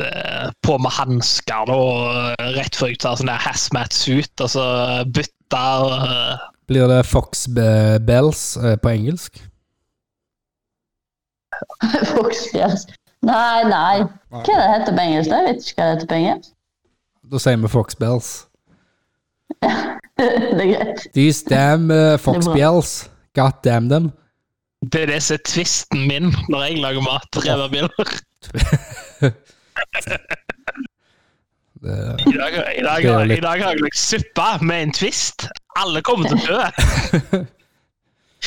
B: eh, på med hansker nå, og rett før jeg tar sånn der hazmat suit, og så bytter eh,
A: Blir det Fox Be- Bells eh, på engelsk?
C: Foxfjærs. Nei, nei. Hva er det heter på engelsk? Jeg vet ikke hva det heter på engelsk.
A: Da sier vi Fox Bells.
C: det er greit.
A: These damn eh, Fox
C: Det var-
A: Bells. God damn them.
B: Det er det som er tvisten min når jeg lager mat. Reverbiler.
A: Det, eh,
B: I dag, i, dag,
A: Det er jo litt-
B: I dag har jeg lagt suppe med en twist. Alle kommer til å dø.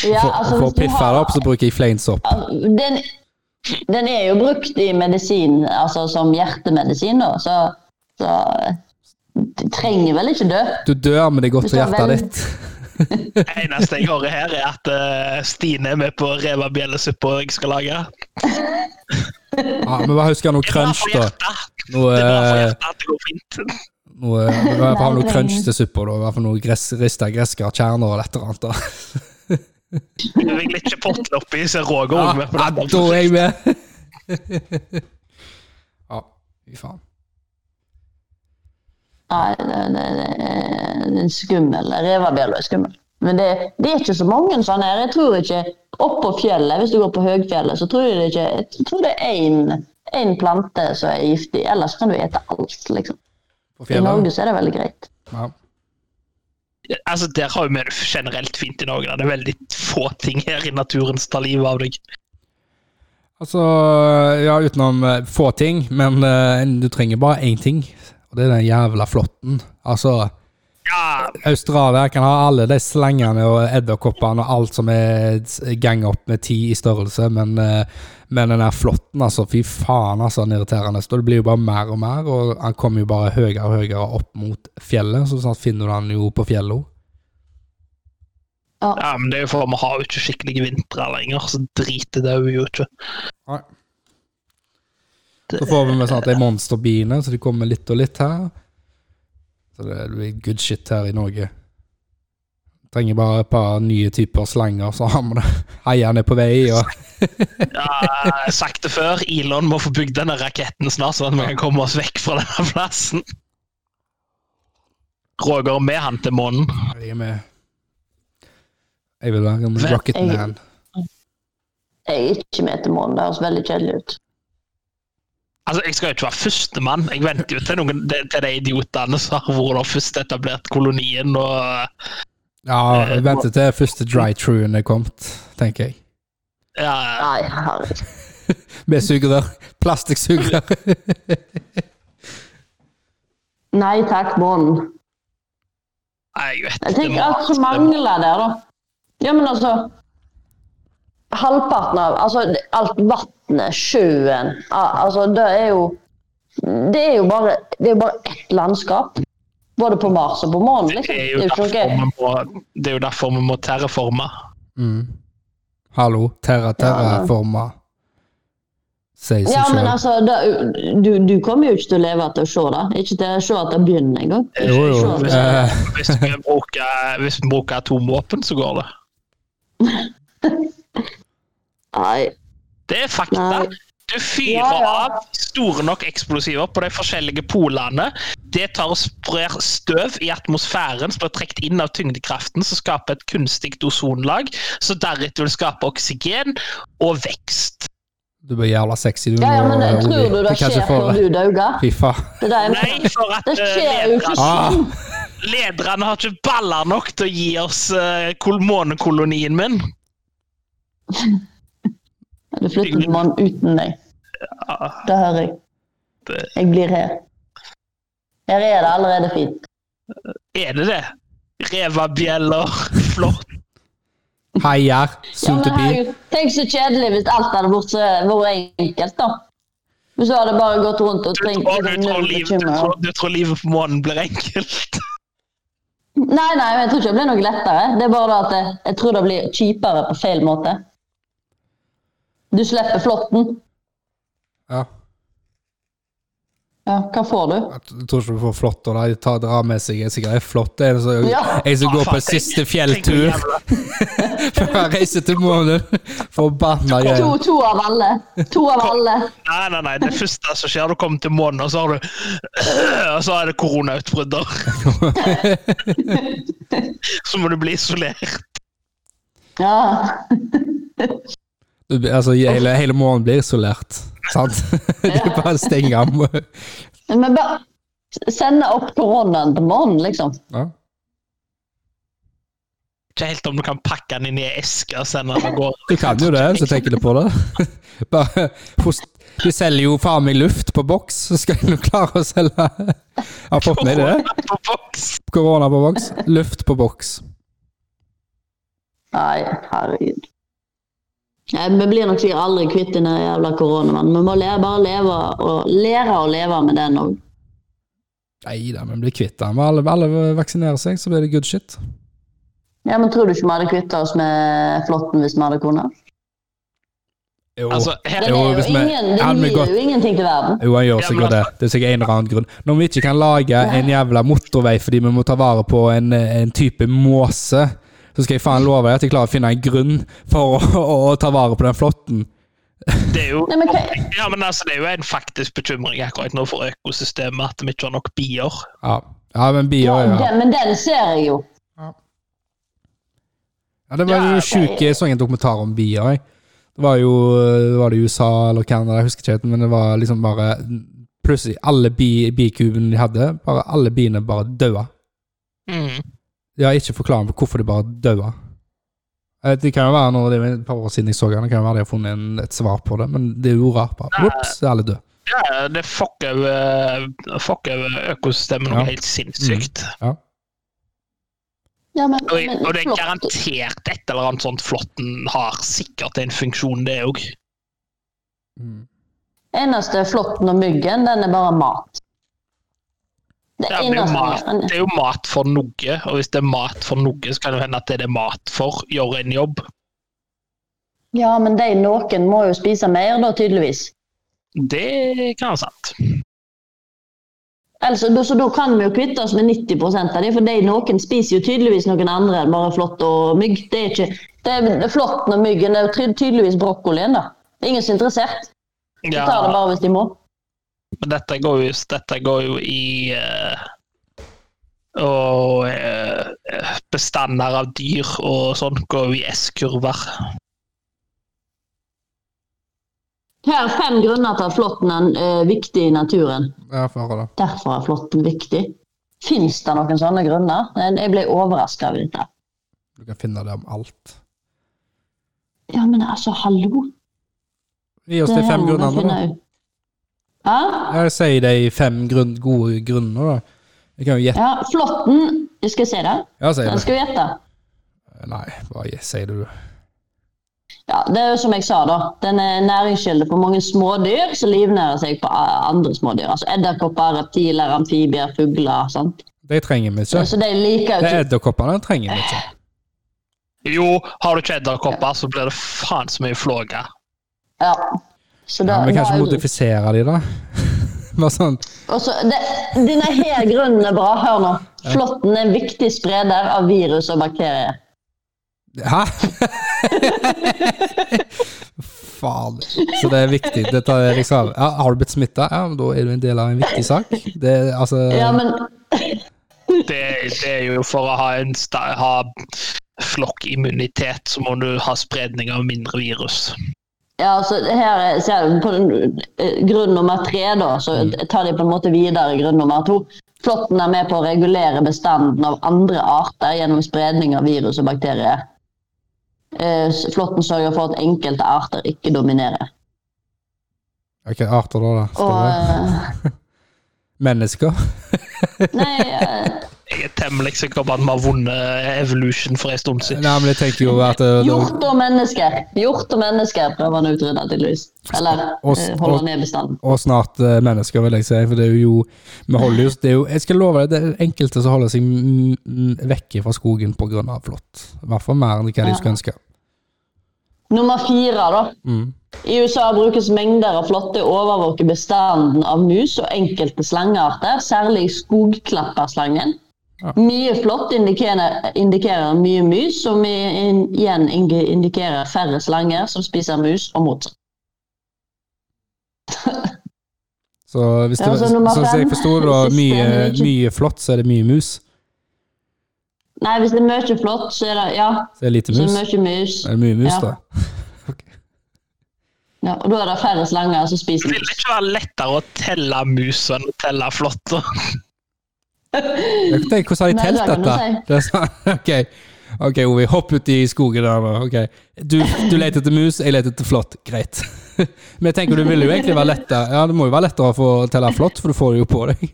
C: Ja,
A: for,
C: altså,
A: for å
C: hvis du
A: piffe
C: har-
A: det opp, så bruker jeg fleinsopp.
C: Altså, Den, den er jo brukt i medisin, altså som hjertemedisin, da, så, så du trenger vel ikke dø.
A: Du dør, men det er godt
C: Hvis
A: for
C: du har
A: hjertet
C: venn-
A: ditt.
B: Det eneste jeg hører her, er at eh, Stine er med på reverbjellesuppa jeg skal lage.
A: Ja, men hva husker jeg noe
B: Det er bra
A: crunch,
B: for
A: da?
B: hjertet.
A: Noe,
B: Det er bra for
A: eh,
B: hjertet at det går fint.
A: noe, i hvert fall ha noe
C: Nei,
A: crunch
C: det-
A: til suppa, da. I hvert fall noe gress, rista gresskarkjerner og et eller annet. da.
B: Jeg vil ikke potten oppi, så er Roger
A: Ja,
B: også med på
A: ja,
B: dette.
A: Ah, da er jeg med! ja, fy faen.
C: Nei, det, det, det, det er skummel. Revabjella er skummel. Men det, det er ikke så mange sånne her. Jeg tror ikke Oppå fjellet, hvis du går på høgfjellet, så tror jeg det ikke Jeg tror det er én- én plante som er giftig. Ellers kan du ete alt, liksom.
A: På
C: I Norge
A: fjellet.
C: så er det veldig greit.
A: Ja.
B: Altså, Der har vi det generelt fint i Norge. da. Det er veldig få ting her i naturen som tar livet av deg.
A: Altså, ja, utenom eh, få ting, men eh, en- du trenger bare én ting. Og det er den jævla flåtten. Altså,
B: Ja,
A: Australia kan ha alle de slangene og edderkoppene og alt som er gang opp med ti i størrelse, men, eh, men den der flåtten, altså, fy faen, altså, den irriterende. Så det blir jo bare mer og mer, og han kommer jo bare høyere og høyere opp mot fjellet, så snart finner du han jo på fjellet også.
B: ja, men det er jo for vi har jo ikke skikkelige vintre lenger, så driter det jo ikke.
A: Så får vi med sånn at det er monsterbine, så de kommer litt og litt her. Så det blir good shit her i Norge. Trenger bare et par nye typer slanger, så har vi det. Heiene er på vei, og
B: Ja, jeg har sagt det før, Elon må få bygd denne raketten snart, sånn at vi kan komme oss vekk fra denne plassen. Roger, med han til månen.
A: Jeg er med. Jeg vil være en
B: Vel,
A: rocket
C: jeg-
A: man.
C: Jeg er ikke med til månen. Det høres veldig kjedelig ut.
B: Altså, Jeg skal jo ikke være førstemann. Jeg venter jo til, noen, til de idiotene som har vært der først etablert kolonien. og
A: Ja, jeg venter til første dry truen er kommet, tenker jeg.
B: ja,
C: Nei, herregud.
A: Med sugerør. Plastikksugerør.
C: Nei takk, månen.
B: Jeg vet
C: Jeg
B: det må-
C: tenker alt som mangler der, da. Ja, men altså Halvparten av altså, alt vannet, sjøen al- Altså, det er jo Det er jo bare, det er jo bare ett landskap. Både på Mars og på månen,
B: Det
C: liksom.
B: er
C: Det
B: jo
C: er jo ikke
B: derfor
C: noe
B: vi må, det er jo derfor vi må terraforme.
A: Mm. Hallo, terra terra forma. sier seg
C: Ja, men
A: selv.
C: altså, da, du, du kommer jo ikke til å leve til å se det. Ikke til å se at det begynner engang.
A: Jo, jo.
C: Sånn.
A: Eh,
B: Hvis vi bruker, hvis vi bruker atomvåpen, så går det.
C: Nei.
B: Det er fakta.
C: Nei.
B: Du fyrer
C: Ja, ja.
B: av store nok eksplosiver på de forskjellige polene. Det tar og sprer støv i atmosfæren som blir trukket inn av tyngdekraften, som skaper et kunstig ozonlag, som deretter vil skape oksygen og vekst.
A: du blir jævla sexy, du.
C: Ja, ja, men
B: Mm,
A: nå, Ovi.
C: tror du det
A: Vi kan ikke
C: skjer
A: få-
C: når du dauer?
A: Fy faen.
C: Det er det jeg
B: Nei,
C: mener.
B: for at
C: Det
B: eh,
C: skjer jo ikke
B: lederne,
A: Ah,
C: sånn.
B: lederne har ikke baller nok til å gi oss eh, kol- månekolonien min.
C: Du flytter til mannen uten deg.
B: Ja,
C: Det hører jeg.
B: Det-
C: Jeg blir her. Her er det allerede fint.
B: er det det? Revabjeller, flått
A: Heier.
C: Ja, men
A: Suntebil.
C: herregud, Tenk så kjedelig hvis alt hadde vært, så, vært enkelt, da. Hvis du hadde bare gått rundt og
B: du,
C: trengt
B: tror- du, tror
C: null
B: liv- du,
C: bekymringer.
B: tror- du tror livet på månen blir enkelt?
C: Nei, nei, men jeg tror ikke det blir noe lettere. Det er bare det at jeg, jeg tror det blir kjipere på feil måte. Du slipper flåtten.
A: Ja.
C: Ja, hva får du?
A: Jeg tror ikke du får flått og da. De tar- drar med seg en sikkert flått en som
C: Ja.
A: jeg som
B: Ah,
A: går på
B: faen,
A: en siste
B: Tenk hvor
A: fjelltur
B: jævla-
A: før jeg reiser til månen. Forbanna
C: To,
A: greier.
C: to av alle. To av alle.
B: Nei, nei, nei. Det første som skjer, du kommer til månen, og så har du Og så er det koronautbrudder. så må du bli isolert.
C: Ja.
A: Du blir- Altså, hele, hele månen blir isolert. Sant? De bare stenger av. må-
C: Men bare sende opp koronaen til morgenen, liksom.
A: Ja.
B: Ikke helt om du kan pakke den inn i ei eske og sende den av gårde.
A: Du kan jo det, hvis jeg tenker litt på det. Bare, host- de selger jo faen meg luft på boks, så skal de jo klare å selge Jeg har fått med deg det.
B: På boks.
A: Korona på boks. Luft på boks.
C: Nei, herregud. Nei, Vi blir nok sikkert aldri kvitt den der jævla koronaen. Vi må lære, bare leve og lære å leve med den òg.
A: Nei da, men bli kvitt den. Alle, alle vaksinerer seg, så blir det good shit.
C: Ja, men tror du ikke vi hadde kvitta oss med flåtten hvis vi hadde kunnet?
A: Jo,
B: Altså, her,
C: Den
A: Jo,
C: er jo
A: hvis vi-
C: ingen,
A: Ja, men
C: den gir
A: godt.
C: jo ingenting til verden.
A: jo han gjør
B: Ja, men
A: sikkert det. Det er sikkert en eller annen grunn. Når vi ikke kan lage en jævla motorvei fordi vi må ta vare på en, en type måse, så skal jeg faen love deg at jeg klarer å finne en grunn for å, å, å ta vare på den flåtten.
B: det er jo
C: Nei, men hva-
B: ja, men altså, det er jo en faktisk bekymring akkurat nå for økosystemet, at vi ikke har nok bier.
A: Ja. ja, men bier
C: Ja,
A: ja.
C: den, men den ser jeg jo.
A: Ja, det var
B: Ja,
A: jo
B: det-
A: sjuk Jeg så en dokumentar om bier. Jeg. Det var jo det var det i USA eller Canada, jeg husker ikke, helt, men det var liksom bare Plutselig, alle bi, bikubene de hadde, bare alle biene bare daua.
B: Mm.
A: De har ikke forklaring på hvorfor de bare daua. Jeg vet, Det kan jo være når det er et par år siden jeg så den, det kan jo være de har funnet en, et svar på det, men det er jo rart. bare, Ops, alle døde.
B: Ja, det fucker jo- fucker jo økosystemet noe
A: Ja.
B: helt sinnssykt.
C: Ja, men,
B: Og,
C: men
B: og det er
C: flått-
B: garantert et eller annet sånt flåtten har sikkert en funksjon, det òg.
A: Mm.
C: eneste flåtten og myggen, den er bare mat. Det
B: Ja,
C: er
B: men det, er jo
C: eneste
B: mat, det er jo mat for noe, og hvis det er mat for noe, så kan det jo hende at det er det mat for. Gjøre en jobb.
C: Ja, men de noen må jo spise mer, da, tydeligvis.
B: Det kan være sant.
C: Ellers, Altså, da- så da kan vi jo kvitte oss med 90 av det, for de noen spiser jo tydeligvis noen andre enn bare flått og mygg. Det er ikke det er Flåtten og myggen det er jo ty- tydeligvis brokkolien, da. Det er ingen som er interessert. De tar det
B: Ja,
C: bare hvis de må.
B: men dette går jo, dette går jo i eh, Og eh, bestander av dyr og sånn går jo i S-kurver.
C: Her er fem grunner til at flåtten er eh, viktig i naturen.
A: Ja, får høre det.
C: Derfor er flåtten viktig. Fins det noen sånne grunner? Jeg ble overraska over dette.
A: Du kan finne det om alt.
C: Ja, men altså, hallo!
A: Gi oss de
C: her
A: fem
C: må vi
A: grunnene, da.
C: finne ut. Hæ?
A: Jeg sier de fem grunn, gode grunnene, da. Jeg kan jo gjette.
C: Ja, flåtten Jeg skal se det.
A: Ja, sier
C: Den
A: du.
C: skal vi gjette.
A: Nei, bare sier du.
C: Ja, det er jo som jeg sa da, Den er næringskilde for mange smådyr som livnærer seg på eh, andre smådyr. Altså Edderkopper, reptiler, amfibier, fugler. sant?
A: De trenger vi ikke.
C: Så de
A: Det
C: liker jo
A: er
C: ikke
A: edderkoppene trenger vi ikke.
B: Jo, har du ikke edderkopper, så blir det faen så mye flåger.
C: ja. Så
A: Ja,
C: da-
A: men
C: da
A: kanskje
C: er jo-
A: modifisere de, da? Bare sånn
C: Og så, det, Denne her grunnen er bra. Hør nå. Flåtten er en viktig spreder av virus og bakterier.
A: Hæ?! Faen. Så det er viktig. Dette er liksom, ja, har du blitt smitta, ja, men da er du en del av en viktig sak. Det er altså
C: Ja, men
B: Det, det er jo for å ha, en sta- ha flokkimmunitet, så må du ha spredning av mindre virus.
C: ja, altså, det her er, ser du på den, eh, grunn nummer tre, da, så
A: Mm.
C: tar de på en måte videre grunn nummer to. Flåtten er med på å regulere bestanden av andre arter gjennom spredning av virus og bakterier. Eh, s- Flåtten sørger for at enkelte arter ikke dominerer.
A: Hvilke arter da? da? Står
C: Og
A: det? Mennesker?
C: eh, Nei eh,
B: Jeg er temmelig sikker på at vi har vunnet Evolution for en stund siden.
A: Nei, men jeg tenker jo at eh,
C: Hjort og mennesker. Hjort og mennesker prøver han å utrydde, tydeligvis. Eller
A: Og-
C: eh, holder
A: og-
C: ned bestanden.
A: og snart eh, mennesker, vil jeg si. For det er jo Vi holder jo det er jo, Jeg skal love deg, det er enkelte som holder seg mm, mm, vekke fra skogen pga. flått. I hvert fall mer enn hva de skulle ønske.
C: Nummer fire, da.
A: Mm.
C: I USA brukes mengder av flåtte å overvåke bestanden av mus og enkelte slangearter, særlig skogklapperslangen.
A: Ja.
C: Mye flått indikerer, indikerer mye mus, som i- in- igjen ing- indikerer færre slanger som spiser mus, og motsatt.
A: Så hvis det,
C: Ja, så nummer
A: sånn som jeg
C: fem.
A: forsto det, var
C: Siste,
A: mye,
C: men ikke-
A: mye flått, så er det mye mus.
C: Nei, hvis det er mye flått, så er det ja,
A: Så er det lite
C: så er
A: mus.
C: det mye mus.
A: Er det mye mus,
C: Ja.
A: da?
C: Ja, og da er det færre slanger som spiser mus.
B: Det ville ikke være lettere å telle mus enn å telle flåtter.
A: Jeg kan tenke, hvordan har de
C: Nei,
A: telt
C: det kan du
A: dette? Det er sånn, ok, ok, Ovi, hopp ut i skogen der nå. ok. Du, du leter etter mus, jeg leter etter flått. Greit. Men jeg tenker du vil jo egentlig være lettere. Ja, det må jo være lettere å få telle flått, for du får det jo på deg.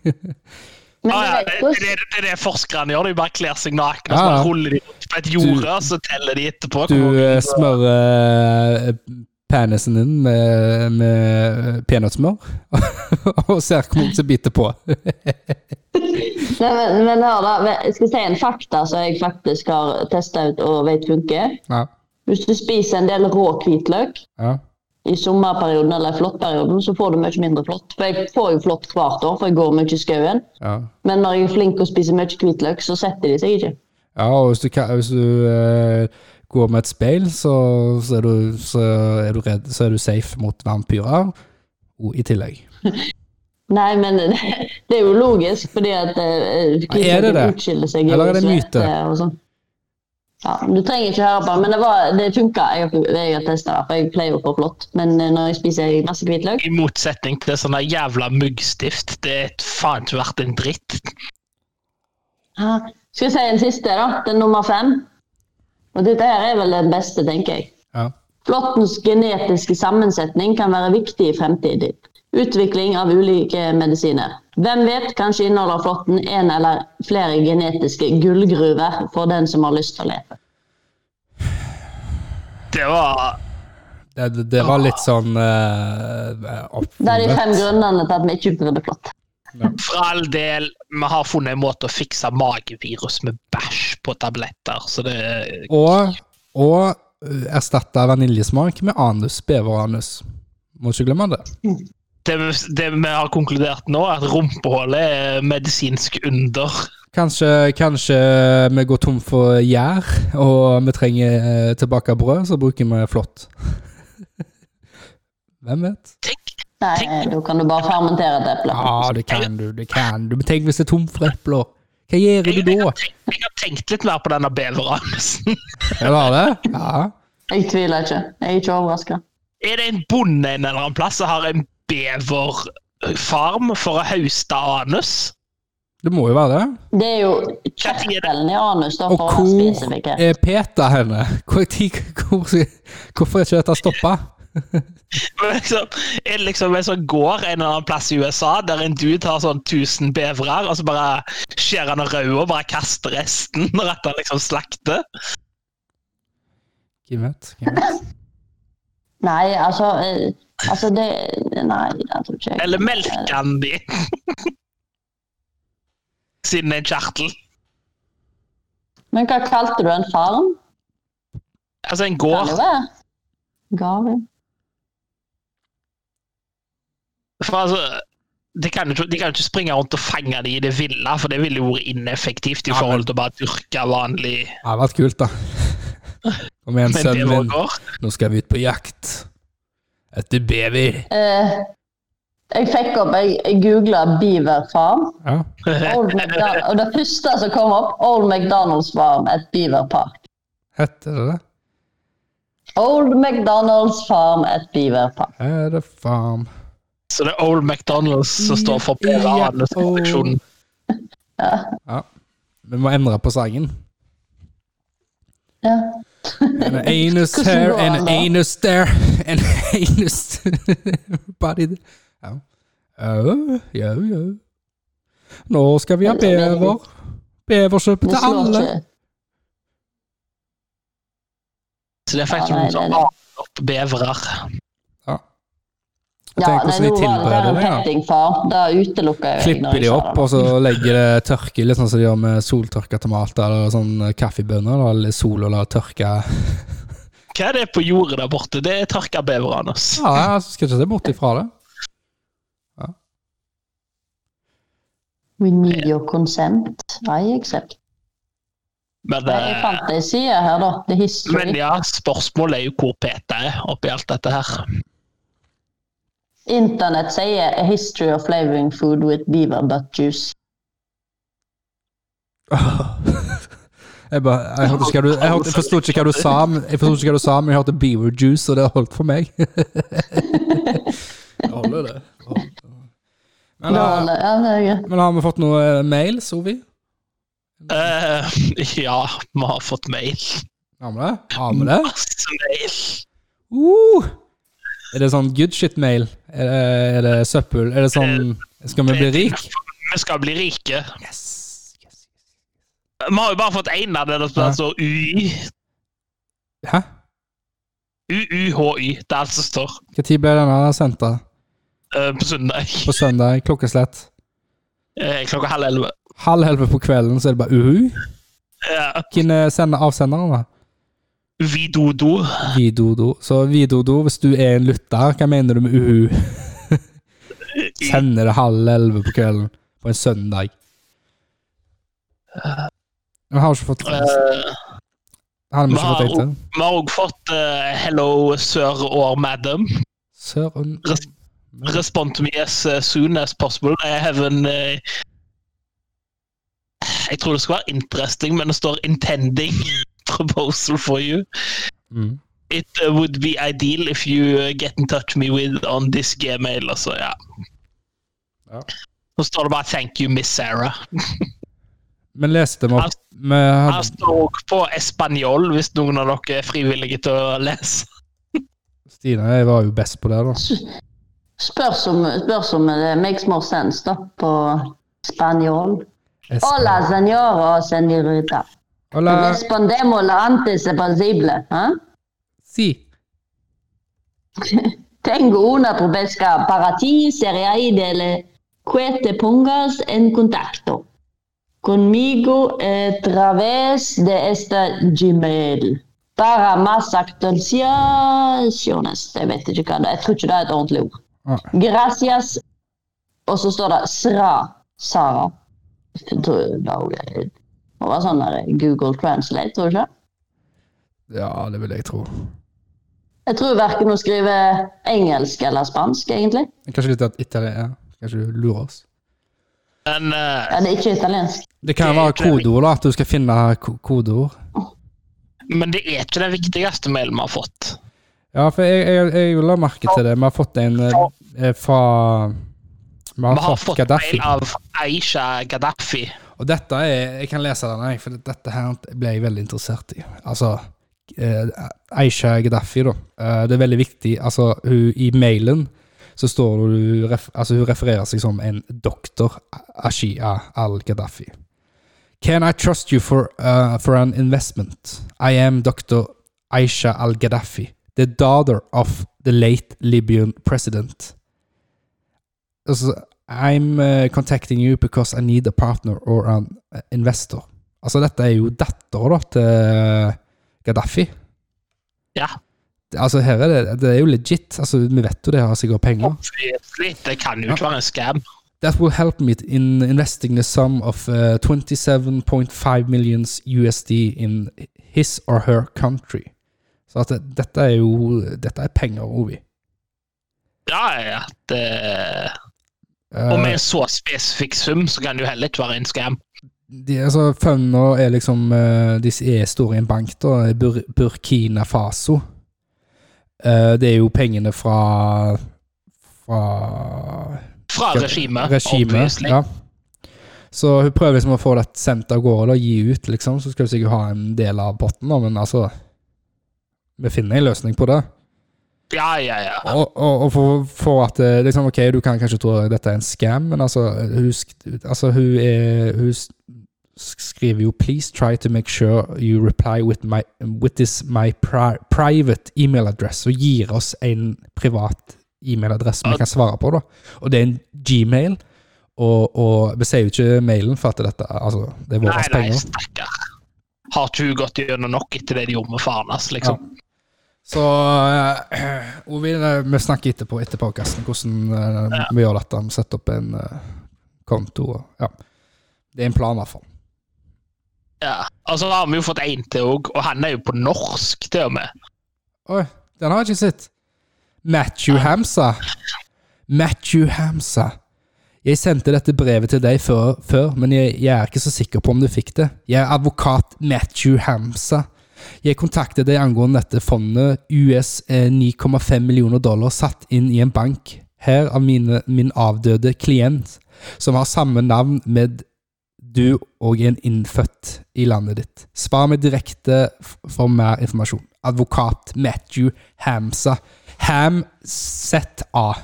C: Men
B: Ah, ja,
C: du
B: det,
C: vet hvordan-
B: det, det er det forskerne gjør. De bare kler seg nakne
A: Ja,
B: og så
A: ja.
B: bare ruller de rundt på et jorde, og så teller de etterpå.
A: Du
B: hvor
A: eh,
B: mange-
A: smører eh, penisen din med, med peanøttsmør, og ser hvor mange som biter på.
C: Nei, men, men hør da, jeg skal si en fakta som jeg faktisk har testa ut og vet funker.
A: Ja.
C: Hvis du spiser en del rå hvitløk
A: ja.
C: i sommerperioden eller flåttperioden, så får du mye mindre flått. For jeg får jo flått hvert år, for jeg går mye i skauen.
A: ja.
C: Men når jeg er flink til å spise mye hvitløk, så setter de seg ikke.
A: Ja, og hvis du, ka- hvis du eh, går med et speil, så, så, er du, så, er du redd, så er du safe mot vampyrer og i tillegg.
C: Nei, men det er jo logisk, fordi at
A: Er
C: eh,
A: det
C: hvitløken
A: det?
C: utskiller seg jo
A: Eller er det
C: i
A: myte?
C: svette og sånn. Ja, du trenger ikke høre på det, men det, var- det funka. Jeg, har- jeg har testa det, for jeg pleier å få flått. Men eh, når jeg spiser masse hvitløk
B: I motsetning til sånne jævla muggstift. Det er faen ikke verdt en dritt.
C: Ja. Ah, Skal jeg si en siste, da? Den nummer fem. Og dette her er vel den beste, tenker jeg.
A: Ja.
C: Flåttens genetiske sammensetning kan være viktig i fremtiden. Utvikling av ulike medisiner. Hvem vet, kanskje inneholder flåtten en eller flere genetiske gullgruver for den som har lyst til å leve.
B: Det var
A: Det, det, det var litt sånn uh,
C: Det er de fem grunnene til at vi ikke utrydder flått.
B: For all del, vi har funnet en måte å fikse magevirus med bæsj på tabletter, så det
A: Og, og eh, erstatte vaniljesmak med anus, beveranus. Må ikke glemme det.
B: det, vi- det vi har konkludert nå, er at rumpehullet er medisinsk under.
A: Kanskje, kanskje vi går tom for gjær, og vi trenger eh, tilbake brød, så bruker vi flått. Hvem vet?
C: Nei, da kan du bare fermentere et eple.
A: Ja, det kan du, det kan du. Men tenk hvis det er tomt for epler. Hva gjør du
B: Jeg, jeg,
A: da?
B: har tenkt, jeg har tenkt litt mer på denne beveranusen.
A: Ja, du har det? Ja.
C: Jeg tviler ikke. Jeg er ikke overraska.
B: Er det en bonde en eller annen plass som har en beverfarm for å høste anus?
A: Det må jo være det.
C: Det er jo kjertelen i anus, da,
A: Og
C: for å være
A: hvor
C: spesifikk. her.
A: er Peter henne? Hvor, hvor, hvorfor er ikke dette stoppa?
B: Men liksom, er det liksom en sånn gård en eller annen plass i USA der en dude har sånn 1000 bevere, og så bare skjærer han røde og bare kaster resten når at han liksom slakter?
A: Hvem vet? Hvem vet?
C: Nei, altså, eh, altså det, Nei, det tror ikke jeg.
B: Eller melker han de? Siden det er en kjertel.
C: Men hva kalte du en farm?
B: Altså en
C: Kan det
B: gård.
C: være? Gave?
B: for altså, de kan, jo ikke, de kan jo ikke springe rundt og fange de i det ville, for det ville jo vært ineffektivt i
A: Ja, men-
B: forhold til å bare dyrke vanlig
A: Det hadde vært kult, da. Kom igjen,
B: Men det
A: sønnen
B: var
A: min.
B: går.
A: Nå skal vi ut på jakt. Etter bever.
C: Eh, jeg fikk opp, jeg, jeg googla Beaver Farm.
A: Ja.
C: Old McDonald, og det første som kom opp, Old McDonald's Farm at Beaver Park.
A: Heter det det?
C: Old McDonald's Farm at Beaver Park.
A: Er det faen
B: Så det er Old McDonald's som står for bevarehandelsproduksjonen.
A: Vi må endre på sangen.
C: Ja.
A: An anus
C: Hvordan
A: here,
C: går den
A: an
C: da?
A: anus there, an anus body there. Ja. Au, jau, jau. Nå skal vi ha bever. Beversuppe
C: Vi
A: til
C: slår
A: alle.
C: ikke
B: Så det er faktisk
C: Ja, nei,
B: noen som
C: det er
B: aner opp bevere.
A: Ja.
C: Ja,
A: Tenk
C: nei,
A: hvordan de
C: nå var det der
A: tilbereder
C: en
A: det. ja.
C: pettingfarm. Det utelukka jeg. sånn? når
A: Klipper
C: jeg
A: de
C: sa
A: opp,
C: det.
A: og så legger det tørke, litt sånn som de gjør med soltørka tomater eller sånn kaffebønner. Da, eller sol og la tørke
B: Hva er det på jordet der borte? Det er tørka bever, Anders.
A: Ja, jeg skal ikke se bort ifra det.
C: We need your consent. I accept.
B: Men,
C: Nei, Jeg
B: eh,
C: fant ei side her, da. The History.
B: men ja, spørsmålet er jo hvor PT er oppi alt dette her.
C: Internett sier A history of flavoring food with beaver butt juice.
A: Jeg, bare, jeg, hørte ikke hva du, jeg, hørte, jeg forsto ikke hva du sa, men jeg, forsto ikke hva du sa, men jeg hørte beaver juice, og det holdt for meg. Jeg holder det. Men,
C: Da,
A: eh,
C: ja, det er greit.
A: men har vi fått noe eh, mail, Sovi?
B: Eh, ja, vi har fått mail.
A: Har vi det? Har vi det?
B: Masse mail.
A: Uh! Er det sånn good shit-mail? Er, det- er det søppel? Er det sånn Skal vi bli rik?
B: Vi skal bli rike.
A: Yes. yes.
B: Vi har jo bare fått én av det der som
A: Ja.
B: står UI.
A: Hæ?
B: UUHY. Det er alt som står
A: Når ble denne sendt? da?
B: eh, på søndag.
A: På søndag? Klokkeslett?
B: Eh, klokka halv elleve.
A: Halv elleve på kvelden, så er det bare uhu?
B: Ja.
A: Hvem er sender avsenderen, da?
B: Vidodo.
A: Vidodo. Så Vidodo, hvis du er en lytter, hva mener du med uhu? Sender det halv elleve på kvelden på en søndag? Vi har ikke fått
B: Eh,
A: Han har vi ikke
B: hva-
A: fått helt til.
B: vi har òg fått eh, 'Hello, sir or madam'.
A: Søren
B: Res- Respond to me as eh, soon as possible. I have an eh, Jeg tror det skal være interesting, men det står 'intending proposal for you'.
A: mm.
B: It eh, would be ideal if you eh, get in touch me with on this gmail. Altså, ja.
A: Ja.
B: Så står det bare 'thank you, Miss Sarah'.
A: Mm. Men leste vi opp
B: Altså,
A: vi hadde-
B: Her står også på espanjol, hvis noen av dere er frivillige til å lese.
A: Stine jeg var jo best på det, da.
C: Spørs om, spørs om det makes more sense, da, på spanjol. Hola, senora og senorita.
A: Hola.
C: Respondemos la antes posible. Huh?
A: Si.
C: Tengo una propuesta para ti, sería ideal que te pongas en contacto conmigo a través de esta Gmail. Para más actualizaciones. Jeg vet ikke hva det er. Jeg tror ikke det er et ordentlig ord.
A: Ah.
C: Gracias. Og så står det Sra. Sara. Jeg tror det er- det var sånn der Google Translate, tror du ikke?
A: Ja, det vil jeg tro.
C: Jeg tror verken hun skriver engelsk eller spansk, egentlig.
A: Kanskje litt at Italia ja. Kanskje du lurer oss.
B: Men eh,
C: Ja, det er ikke italiensk.
A: Det kan
B: Det er
A: være
B: ikke det vi-
A: kodeord, da. At du skal finne ko- kodeord.
B: Men det er ikke den viktigste mailen vi har fått.
A: Ja, for jeg, jeg, jeg la merke til det. Vi har fått en eh, eh, fra Vi har,
B: Vi har fått
A: Gaddafi.
B: mail av Aisha Gaddafi.
A: Og dette er Jeg kan lese den, jeg, for dette her ble jeg veldig interessert i. Altså eh, Aisha Gaddafi, da. Eh, det er veldig viktig. Altså, hun i mailen så står det hun, ref, altså, hun refererer seg som en doktor Ashia al-Gaddafi. Can I trust you for, uh, for an investment? I am Dr. Aisha al Gaddafi, the daughter of the late Libyan president. Altså, I'm uh, contacting you because I need a partner or an uh, investor. uh, Altså, dette er jo datteren da, til Gaddafi.
B: Ja.
A: Altså, her er det, det er jo legit. Altså, vi vet jo det har sikkert penger.
B: Obviously, Det kan jo ikke være en scam.
A: That will help me in investing the sum of uh, 27.5 millions USD in his or her country. Så at det, dette er jo Dette er penger, Ovi.
B: Ja, ja, ja. Det- Og med
A: Uh,
B: en så spesifikk sum, så kan det jo heller ikke være en scam.
A: de, altså, Fønna er liksom eh, De er store i en bank, da. i Bur Burkina Faso. Eh, det er jo pengene fra Fra
B: Fra regimet,
A: regimet.
B: obviously.
A: Ja. Så hun prøver liksom å få det sendt av gårde og gi ut, liksom. Så skal hun sikkert ha en del av potten, da, men altså Vi finner en løsning på det.
B: Ja, ja, ja.
A: Og, og, og for, for at eh, liksom, Ok, du kan kanskje tro dette er en scam, men altså Hun, sk- altså, hun, er, hun s- skriver jo Please try to make sure you reply with, my, with this my pri private email address. Og gir oss en privat e-mailadresse vi kan svare på, da. Og det er en Gmail. Og, og vi sier jo ikke mailen for at dette altså, det er våre
B: Nei, nei,
A: penger.
B: stakkar. Har ikke hun gått gjennom nok etter det de gjorde med faren hans, liksom?
A: Så eh, Ovi, eh, vi snakker etterpå etter podkasten hvordan eh, vi gjør dette. Vi setter opp en eh, konto. Og, ja. Det er en plan, i hvert fall.
B: Ja. Og så har vi jo fått en til òg, og han er jo på norsk, til og med.
A: Oi, den har jeg ikke sett. Matthew Hamsa. Matthew Hamsa. Jeg sendte dette brevet til deg før, før men jeg, jeg er ikke så sikker på om du fikk det. Jeg er advokat Matthew Hamsa. Jeg kontaktet deg angående dette fondet US eh, 9,5 millioner dollar satt inn i en bank. Her av mine, min avdøde klient, som har samme navn med du og en innfødt i landet ditt. Svar meg direkte f- for mer informasjon. Advokat Matthew Hamsa. Ham ZA.
B: Og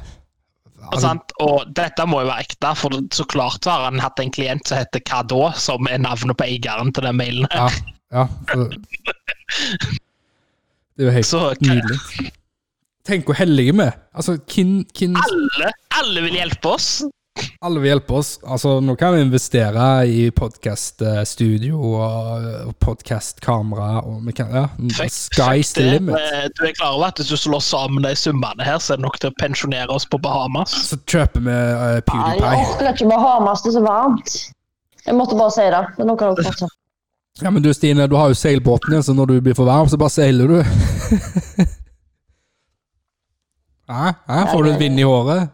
A: Altså,
B: sant? Og dette må jo være ekte, for så klart har han hatt en klient som heter Hva da, som er navnet på eieren til den mailen.
A: ja, ja, for, det er jo helt
B: Så kan
A: nydelig. Tenk hvor heldige vi er. Altså, hvem hvem-
B: alle, alle vil hjelpe oss.
A: Alle vil hjelpe oss. Altså, nå kan vi investere i podkaststudio og podkastkamera og vi kan, ja,
B: Fuck-
A: Sky's the
B: Det,
A: limit.
B: eh, du er klar over at hvis du slår sammen de summene her, så er det nok til å pensjonere oss på Bahamas?
A: Så kjøper vi eh,
C: Nei, jeg
A: PewDiePie.
C: orker ikke Bahamas, det er så varmt. Jeg måtte bare si det. Men nå kan dere fortsette.
A: Ja, men du Stine, du har jo seilbåten din, så når du blir for varm, så bare seiler du. Hæ? Hæ? Får du et vind i håret?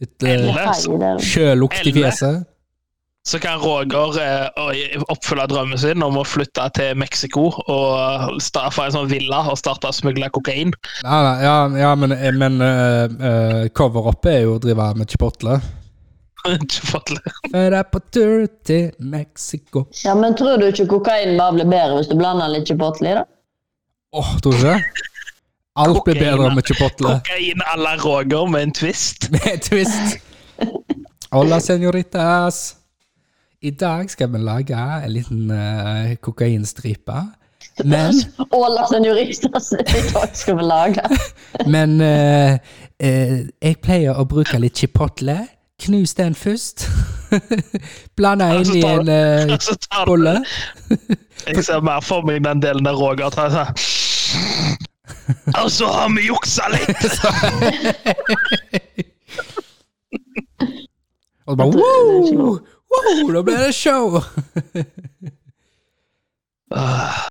A: Litt eh,
B: Eller så,
C: Feil, det er-
A: sjølukt i fjeset?
B: så kan Roger eh, å- oppfylle drømmen sin om å flytte til Mexico og sta- få en sånn villa og starte å smugle kokain.
A: Nei, nei, ja, ja, men, eh, men eh, eh, cover-upet er jo å drive med chipotle.
B: Ikke fått det.
A: Før jeg er på tur til Mexico.
C: Ja, men tror du ikke kokain bare blir bedre hvis du blander litt chipotle i det?
A: Åh, tror du ikke? Alt blir bedre med chipotle.
B: Kokain à la Roger med en twist.
A: Med twist. Hola, senoritas. I dag skal vi lage en liten eh, kokainstripe. Men,
C: Åla sin juristas i dag skal vi lage.
A: men eh, eh, jeg pleier å bruke litt chipotle. Knus den først. Blande inn i en eh,
B: Så tar du-
A: bolle.
B: Jeg ser mer for meg den delen der Roger tar sånn Og så har vi juksa litt!
A: Og så bare wow! wow da blir det show!
B: Ah,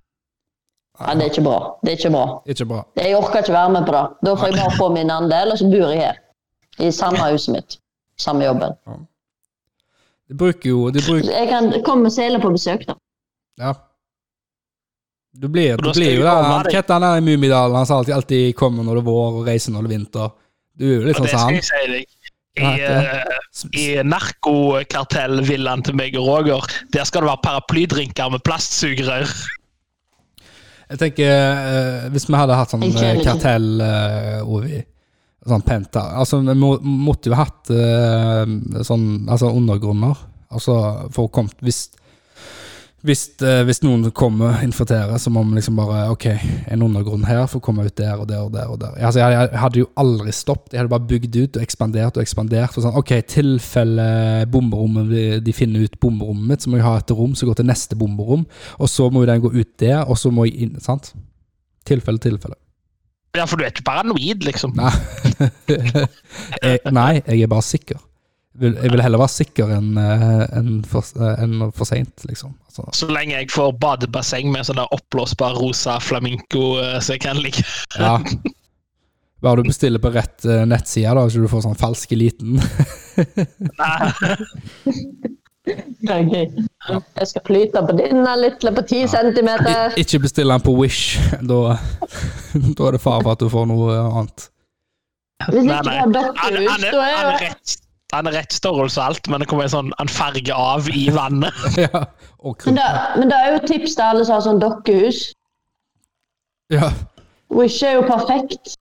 C: Ja, det er ikke bra. Det er ikke bra.
A: Ikke bra.
C: Jeg orker ikke være med på det. Da får jeg bare få min andel, og så bor jeg her. I samme huset mitt. Samme jobben.
A: De bruker jo de bruker,
C: Så Jeg kan komme og seile på besøk, da.
A: Ja. Du blir,
B: Og
A: du
B: da skal
A: blir
B: jeg
A: jo
B: komme
A: der.
B: deg.
A: Ketten er i Mummidalen. Han sa alltid, alltid 'kommer når det er vår, og reiser når det er vinter'. Du er jo litt
B: Og
A: sånn
B: det
A: som
B: skal
A: han.
B: jeg si deg. I,
A: Nei, ja.
B: eh, i narkokartellvillaen til meg og Roger, der skal det være paraplydrinker med plastsugerør.
A: Jeg tenker, eh, Hvis vi hadde hatt sånn
C: Jeg kjenner
A: eh,
C: ikke.
A: kartell, eh, Ovi Sånn penta Altså, Vi må, måtte jo hatt eh, sånn altså undergrunner. Altså, for å komme Hvis hvis, eh, hvis noen kommer og infiltrerer, så må vi liksom bare Ok, en undergrunn her for å komme ut der og der og der. og der. Altså, jeg, jeg hadde jo aldri stoppet. Jeg hadde bare bygd ut og ekspandert og ekspandert. For sånn, ok, i tilfelle bomberommet de, de finner ut bomberommet mitt, så må jeg ha et rom som går til neste bomberom. Og så må jo den gå ut der, og så må jeg inn. Sant? Tilfelle, tilfelle.
B: Ja, for du er ikke paranoid, liksom.
A: Nei. jeg, nei, jeg er bare sikker. Jeg vil, jeg vil heller være sikker enn eh, enn for, eh, enn for seint, liksom. Altså,
B: Så lenge jeg får badebasseng med sånn der oppblåsbar rosa flamingo, eh, så jeg kan ligge
A: ja. Bare du bestiller på rett eh, nettside, da, så du får sånn falsk eliten.
C: Det er gøy. Jeg skal flyte på denne lille på ti centimeter.
A: I- Ikke bestill den på Wish. Da, da er det fare for at du får noe eh, annet.
C: Hvis
B: Nei,
C: ikke
B: nei.
C: har
B: Han,
C: dere ut,
B: han, er,
C: da er
B: han, er
C: jo
B: rett, han er rett størrelse og alt, men det kommer en sånn en farge av i vannet.
A: Ja, og
C: men
A: krutt.
C: det, men det er jo et tips til alle som har sånn dokkehus.
A: Ja.
C: Wish er jo perfekt.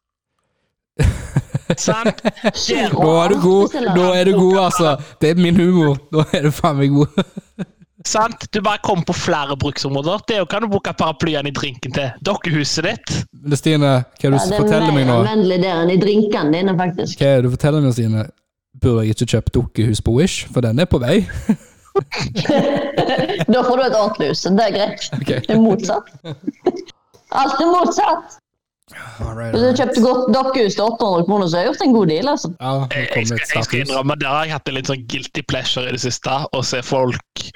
B: Sant? Der,
A: Nå er du god, nå er du god, altså. Det er min humor. Nå er du faen meg god.
B: sant? Du bare kommer på flere bruksområder. Det er jo kan du bruke paraplyen i drinken til. Dokkehuset ditt.
A: Men Stine, hva er det du
C: Ja, det er mer
A: forteller meg nå?
C: anvendelig der enn i drinkene dine, faktisk.
A: Hva er det du forteller meg, Stine? Burde jeg ikke kjøpt dukkehus på Wish? For den er på vei.
C: Da får du et ordentlig hus. Det er greit.
A: Ok.
C: Det er motsatt. Alt er motsatt.
A: All right,
C: Hvis
A: all
C: du
A: right.
C: kjøpte godt dokkehus til 800 kroner, så har jeg gjort en god deal. altså.
A: Ja, nå
B: Jeg,
A: kom det
B: jeg, skal,
A: et
B: jeg skal
A: status.
B: innrømme, der har jeg hatt en litt sånn guilty pleasure i det siste. Å se folk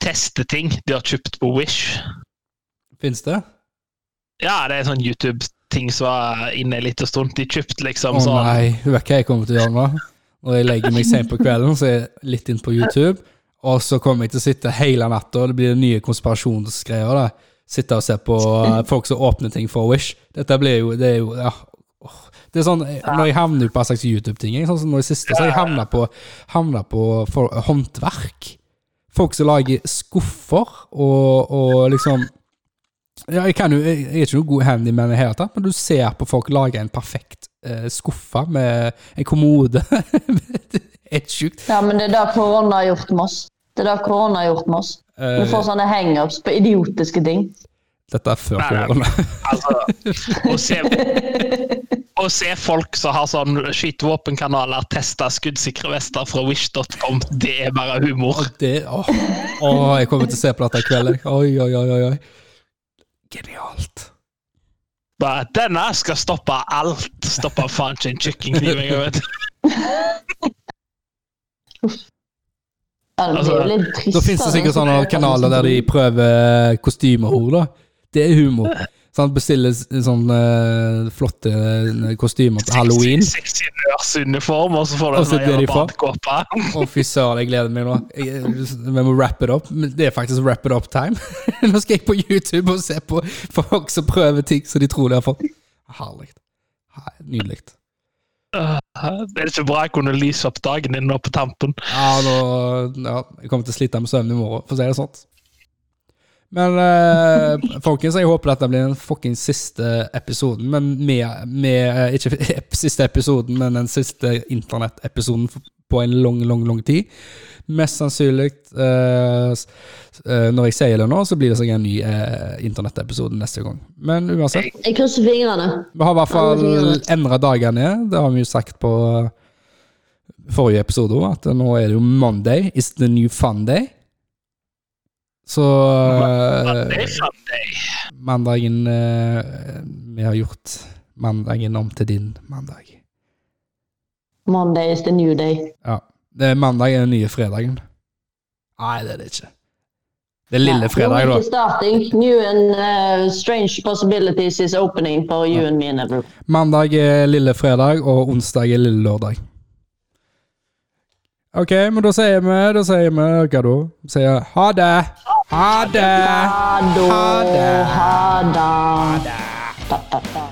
B: teste ting de har kjøpt på Wish.
A: Fins det?
B: Ja, det er sånn YouTube-ting som var inne en liten stund. De kjøpte
A: Å
B: liksom sånn
A: nei, du vet hva jeg kommer til å gjøre nå? Når jeg legger meg sent på kvelden, så er jeg litt inn på YouTube, og så kommer jeg til å sitte hele natta, og det blir nye konspirasjonsgreier. da. Sitte og se på eh, folk som åpner ting for Wish. Dette blir jo Det er jo ja. åh. Det er sånn, eh, Når jeg havner på en slags YouTube-ting jeg, Sånn som nå i siste, så har jeg havna på, havnet på for, håndverk. Folk som lager skuffer og, og liksom ja, jeg, kan jo, jeg jeg er ikke noe god handyman i det hele tatt, men du ser på folk lage en perfekt eh, skuffe med en kommode. det er helt sjukt.
C: Ja, men det er det korona har gjort med oss. Det er det korona har gjort med oss. Du får sånne hangups på idiotiske ting.
A: Eh, Dette er før
B: Nei, nei.
A: korona.
B: Altså, å se, å se folk som har sånn skytevåpenkanaler, teste skuddsikre vester fra wish.com, det er bare humor.
A: Det, åh, åh, jeg kommer til å se på dette i kveld. jeg. Oi, oi, oi, oi, oi. Genialt.
B: Bare, Denne skal stoppe alt. Stoppe faen ikke en kjøkkenkniv engang, vet du.
C: Ja, det blir jo litt trist.
A: Altså, Da finnes det sikkert sånne kanaler der de prøver kostymehor, da. Det er humor. Sånn, bestiller sånne eh, flotte eh, kostymer til halloween.
B: Sexy nurseuniform, og så får du
A: Og
B: en
A: så
B: sånn
A: blir de
B: jævla
A: fra.
B: badekåpe.
A: Å, fy søren, jeg gleder meg nå. Jeg, vi må wrap it up. Men Det er faktisk wrap it up time. Nå skal jeg på YouTube og se på folk som prøver ting som de tror de har fått. Herlig. Her- Nydelig.
B: Er det ikke bra jeg kunne lyse opp dagen din nå på tampen?
A: Ja, nå, ja, jeg kommer til å slite med søvnen i morgen, for å si det sånn. Men eh, folkens, jeg håper dette blir den fuckings siste episoden. Men med, med Ikke siste episoden, men den siste internettepisoden på en lang, lang, lang tid. Mest sannsynlig, eh, s- eh, når jeg sier det nå, så blir det sikkert en ny eh, internettepisode neste gang. Men uansett.
C: Jeg krysser fingrene.
A: Vi har i hvert fall
C: Ja, det er fint.
A: endra dagene. Det har vi jo sagt på eh, forrige episode òg, at nå er det jo Monday is the new fun day. Så
B: Det
A: eh,
B: er fun day.
A: mandagen eh, Vi har gjort mandagen om til din mandag.
C: Monday is the new day.
A: Ja. Det er mandag er den nye fredagen. Nei, det er det ikke. Det er lille fredag, da.
C: Week is Starting. New and uh, strange possibilities is opening for you and me and everyone.
A: Mandag er lille fredag, og onsdag er lille lørdag. Ok, men da sier vi da sier vi hva da? Sier ha det! Ha det!
C: Ha det.
A: Ha det.
C: Ha det. Da, da, da.